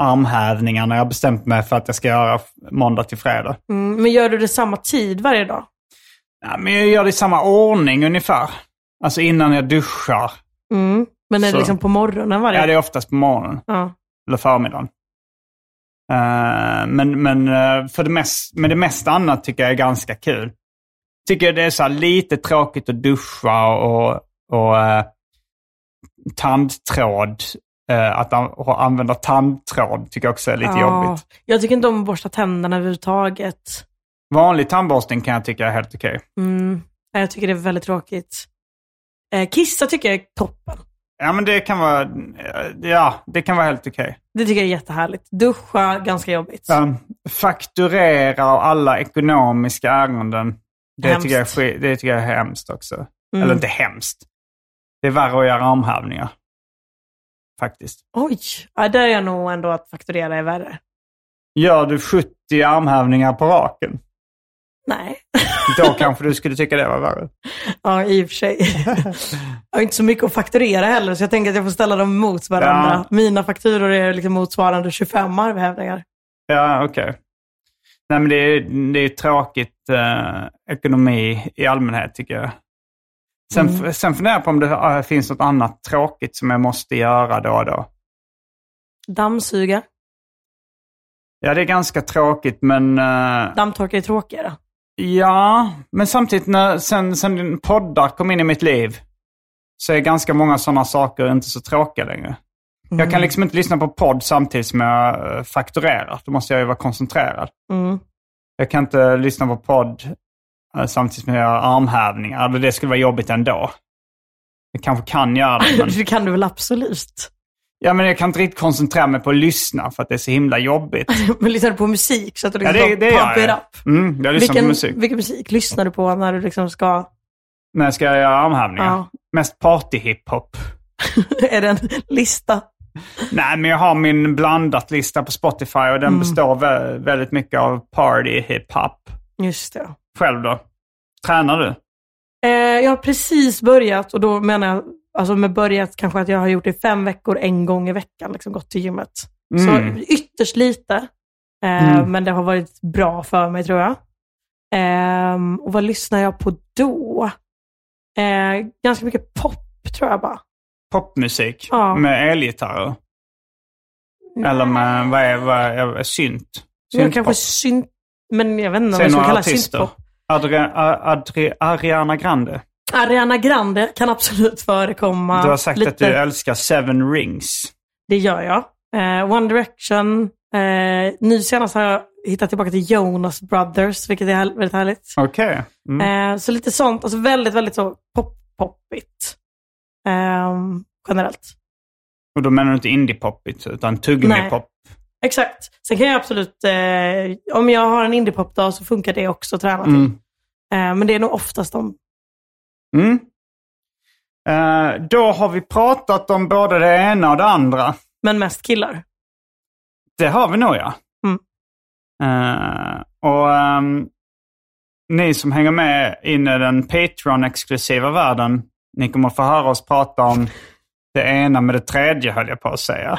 [SPEAKER 2] armhävningarna jag har bestämt mig för att jag ska göra f- måndag till fredag.
[SPEAKER 3] Mm. Men gör du det samma tid varje dag?
[SPEAKER 2] Ja, men jag gör det i samma ordning ungefär. Alltså innan jag duschar.
[SPEAKER 3] Mm. Men är
[SPEAKER 2] Så.
[SPEAKER 3] det liksom på morgonen varje
[SPEAKER 2] Ja,
[SPEAKER 3] dag?
[SPEAKER 2] det är oftast på morgonen
[SPEAKER 3] Ja.
[SPEAKER 2] eller förmiddagen. Eh, men men eh, för det, mest, men det mesta annat tycker jag är ganska kul. Tycker det är så här lite tråkigt att duscha och, och eh, tandtråd. Eh, att an- och använda tandtråd tycker jag också är lite
[SPEAKER 3] Ja.
[SPEAKER 2] jobbigt.
[SPEAKER 3] Jag tycker inte om att borsta tänderna överhuvudtaget.
[SPEAKER 2] Vanlig tandborstning kan jag tycka är helt okej.
[SPEAKER 3] Mm. Nej, Jag tycker det är väldigt tråkigt. Eh, kissa tycker jag är toppen.
[SPEAKER 2] Ja, men det kan vara, eh, ja, det kan vara helt okej.
[SPEAKER 3] Det tycker jag är jättehärligt. Duscha, ganska jobbigt.
[SPEAKER 2] Eh, fakturera och alla ekonomiska ärenden. Det
[SPEAKER 3] Hemskt.
[SPEAKER 2] tycker, jag är, skit- det tycker jag är hemskt också. Eller inte hemskt. Det är värre att göra armhävningar. Faktiskt.
[SPEAKER 3] Oj, ja, där är jag nog ändå att fakturera är värre.
[SPEAKER 2] Gör du 70 armhävningar på raken,
[SPEAKER 3] Nej,
[SPEAKER 2] då kanske du skulle tycka det var värre.
[SPEAKER 3] ja, i och för sig. jag har inte så mycket att fakturera heller, så jag tänker att jag får ställa dem mot varandra. Mina fakturor är liksom motsvarande 25 arvhävningar.
[SPEAKER 2] Ja, okej. Nej, men det är, det är tråkigt eh, ekonomi i allmänhet tycker jag. Sen, sen funderar jag på om det eh, finns något annat tråkigt som jag måste göra då och då.
[SPEAKER 3] Dammsuga.
[SPEAKER 2] Ja, det är ganska tråkigt, men... eh,
[SPEAKER 3] Dammtorkar är tråkigare.
[SPEAKER 2] Ja, men samtidigt när, sen, sen poddar kom in i mitt liv så är ganska många sådana saker inte så tråkiga längre. Jag
[SPEAKER 3] Mm.
[SPEAKER 2] kan liksom inte lyssna på podd samtidigt som jag eh, fakturerar. Då måste jag ju vara koncentrerad.
[SPEAKER 3] Mm.
[SPEAKER 2] Jag kan inte lyssna på podd eh, samtidigt som jag gör armhävningar. Eller det skulle vara jobbigt ändå. Jag kanske kan göra det, men,
[SPEAKER 3] det kan du väl absolut.
[SPEAKER 2] ja, men jag kan inte riktigt koncentrera mig på att lyssna för att det är så himla jobbigt.
[SPEAKER 3] Men lyssnar du på musik så att du
[SPEAKER 2] Ja,
[SPEAKER 3] liksom
[SPEAKER 2] det, det
[SPEAKER 3] bara
[SPEAKER 2] gör
[SPEAKER 3] pump it
[SPEAKER 2] jag.
[SPEAKER 3] up?
[SPEAKER 2] Mm, jag lyssnar
[SPEAKER 3] Vilken
[SPEAKER 2] på musik.
[SPEAKER 3] musik. vilken musik lyssnar du på när du liksom ska...
[SPEAKER 2] När jag ska göra armhävningar.
[SPEAKER 3] Ja.
[SPEAKER 2] Mest partyhiphop.
[SPEAKER 3] är det en lista?
[SPEAKER 2] Nej, men jag har min blandat-lista på Spotify och den
[SPEAKER 3] Mm.
[SPEAKER 2] består vä- väldigt mycket av party hiphop.
[SPEAKER 3] Just det.
[SPEAKER 2] Själv då? Tränar du?
[SPEAKER 3] Eh, jag har precis börjat och då menar jag Alltså med börjat kanske att jag har gjort det i fem veckor, en gång i veckan, liksom gått till gymmet.
[SPEAKER 2] Mm.
[SPEAKER 3] Så ytterst lite, eh,
[SPEAKER 2] Mm.
[SPEAKER 3] men det har varit bra för mig tror jag. Ehm, och vad lyssnar jag på då? Eh, ganska mycket pop tror jag bara.
[SPEAKER 2] Popmusik
[SPEAKER 3] Ja.
[SPEAKER 2] med elgitarrer. Eller med, vad är, vad är synt?
[SPEAKER 3] Jag kanske
[SPEAKER 2] Syntpop.
[SPEAKER 3] synt, men jag vet inte om
[SPEAKER 2] Säg
[SPEAKER 3] jag skulle
[SPEAKER 2] några
[SPEAKER 3] kalla det
[SPEAKER 2] artister.
[SPEAKER 3] syntpop.
[SPEAKER 2] Adria, A- Adri, Ariana Grande.
[SPEAKER 3] Ariana Grande kan absolut förekomma.
[SPEAKER 2] Du har sagt
[SPEAKER 3] lite.
[SPEAKER 2] att du älskar Seven Rings.
[SPEAKER 3] Det gör jag. Eh, One Direction. Eh, nu senast har jag hittat tillbaka till Jonas Brothers, vilket är här- väldigt härligt.
[SPEAKER 2] Okej. Mm.
[SPEAKER 3] Eh, så lite sånt. Alltså väldigt, väldigt så pop-poppigt. Ehm, generellt.
[SPEAKER 2] Och då menar du inte indie-poppigt, utan tuggummi-pop.
[SPEAKER 3] Exakt. Sen kan jag absolut, eh, om jag har en indiepop-dag så funkar det också att träna till.
[SPEAKER 2] Mm.
[SPEAKER 3] Eh, men det är nog oftast de.
[SPEAKER 2] Mm. Eh, då har vi pratat om både det ena och det andra.
[SPEAKER 3] Men mest killar.
[SPEAKER 2] Det har vi nog ja.
[SPEAKER 3] Mm.
[SPEAKER 2] Eh, och ehm, ni som hänger med in i den Patreon-exklusiva världen, ni kommer få höra oss prata om det ena med det tredje höll jag på att säga.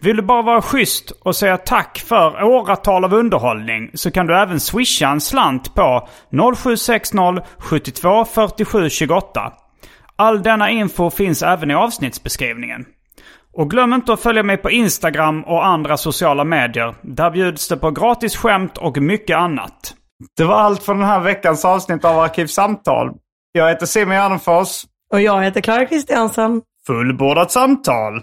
[SPEAKER 2] Vill du bara vara schysst och säga tack för åratal av underhållning så kan du även swisha en slant på 0760 72 47 28. All denna info finns även i avsnittsbeskrivningen. Och glöm inte att följa mig på Instagram och andra sociala medier. Där bjuds det på gratis skämt och mycket annat. Det var allt för den här veckans avsnitt av Arkivsamtal. Jag heter Simon Gärdenfors.
[SPEAKER 3] Och jag heter Clara Kristiansen.
[SPEAKER 2] Fullbordat samtal!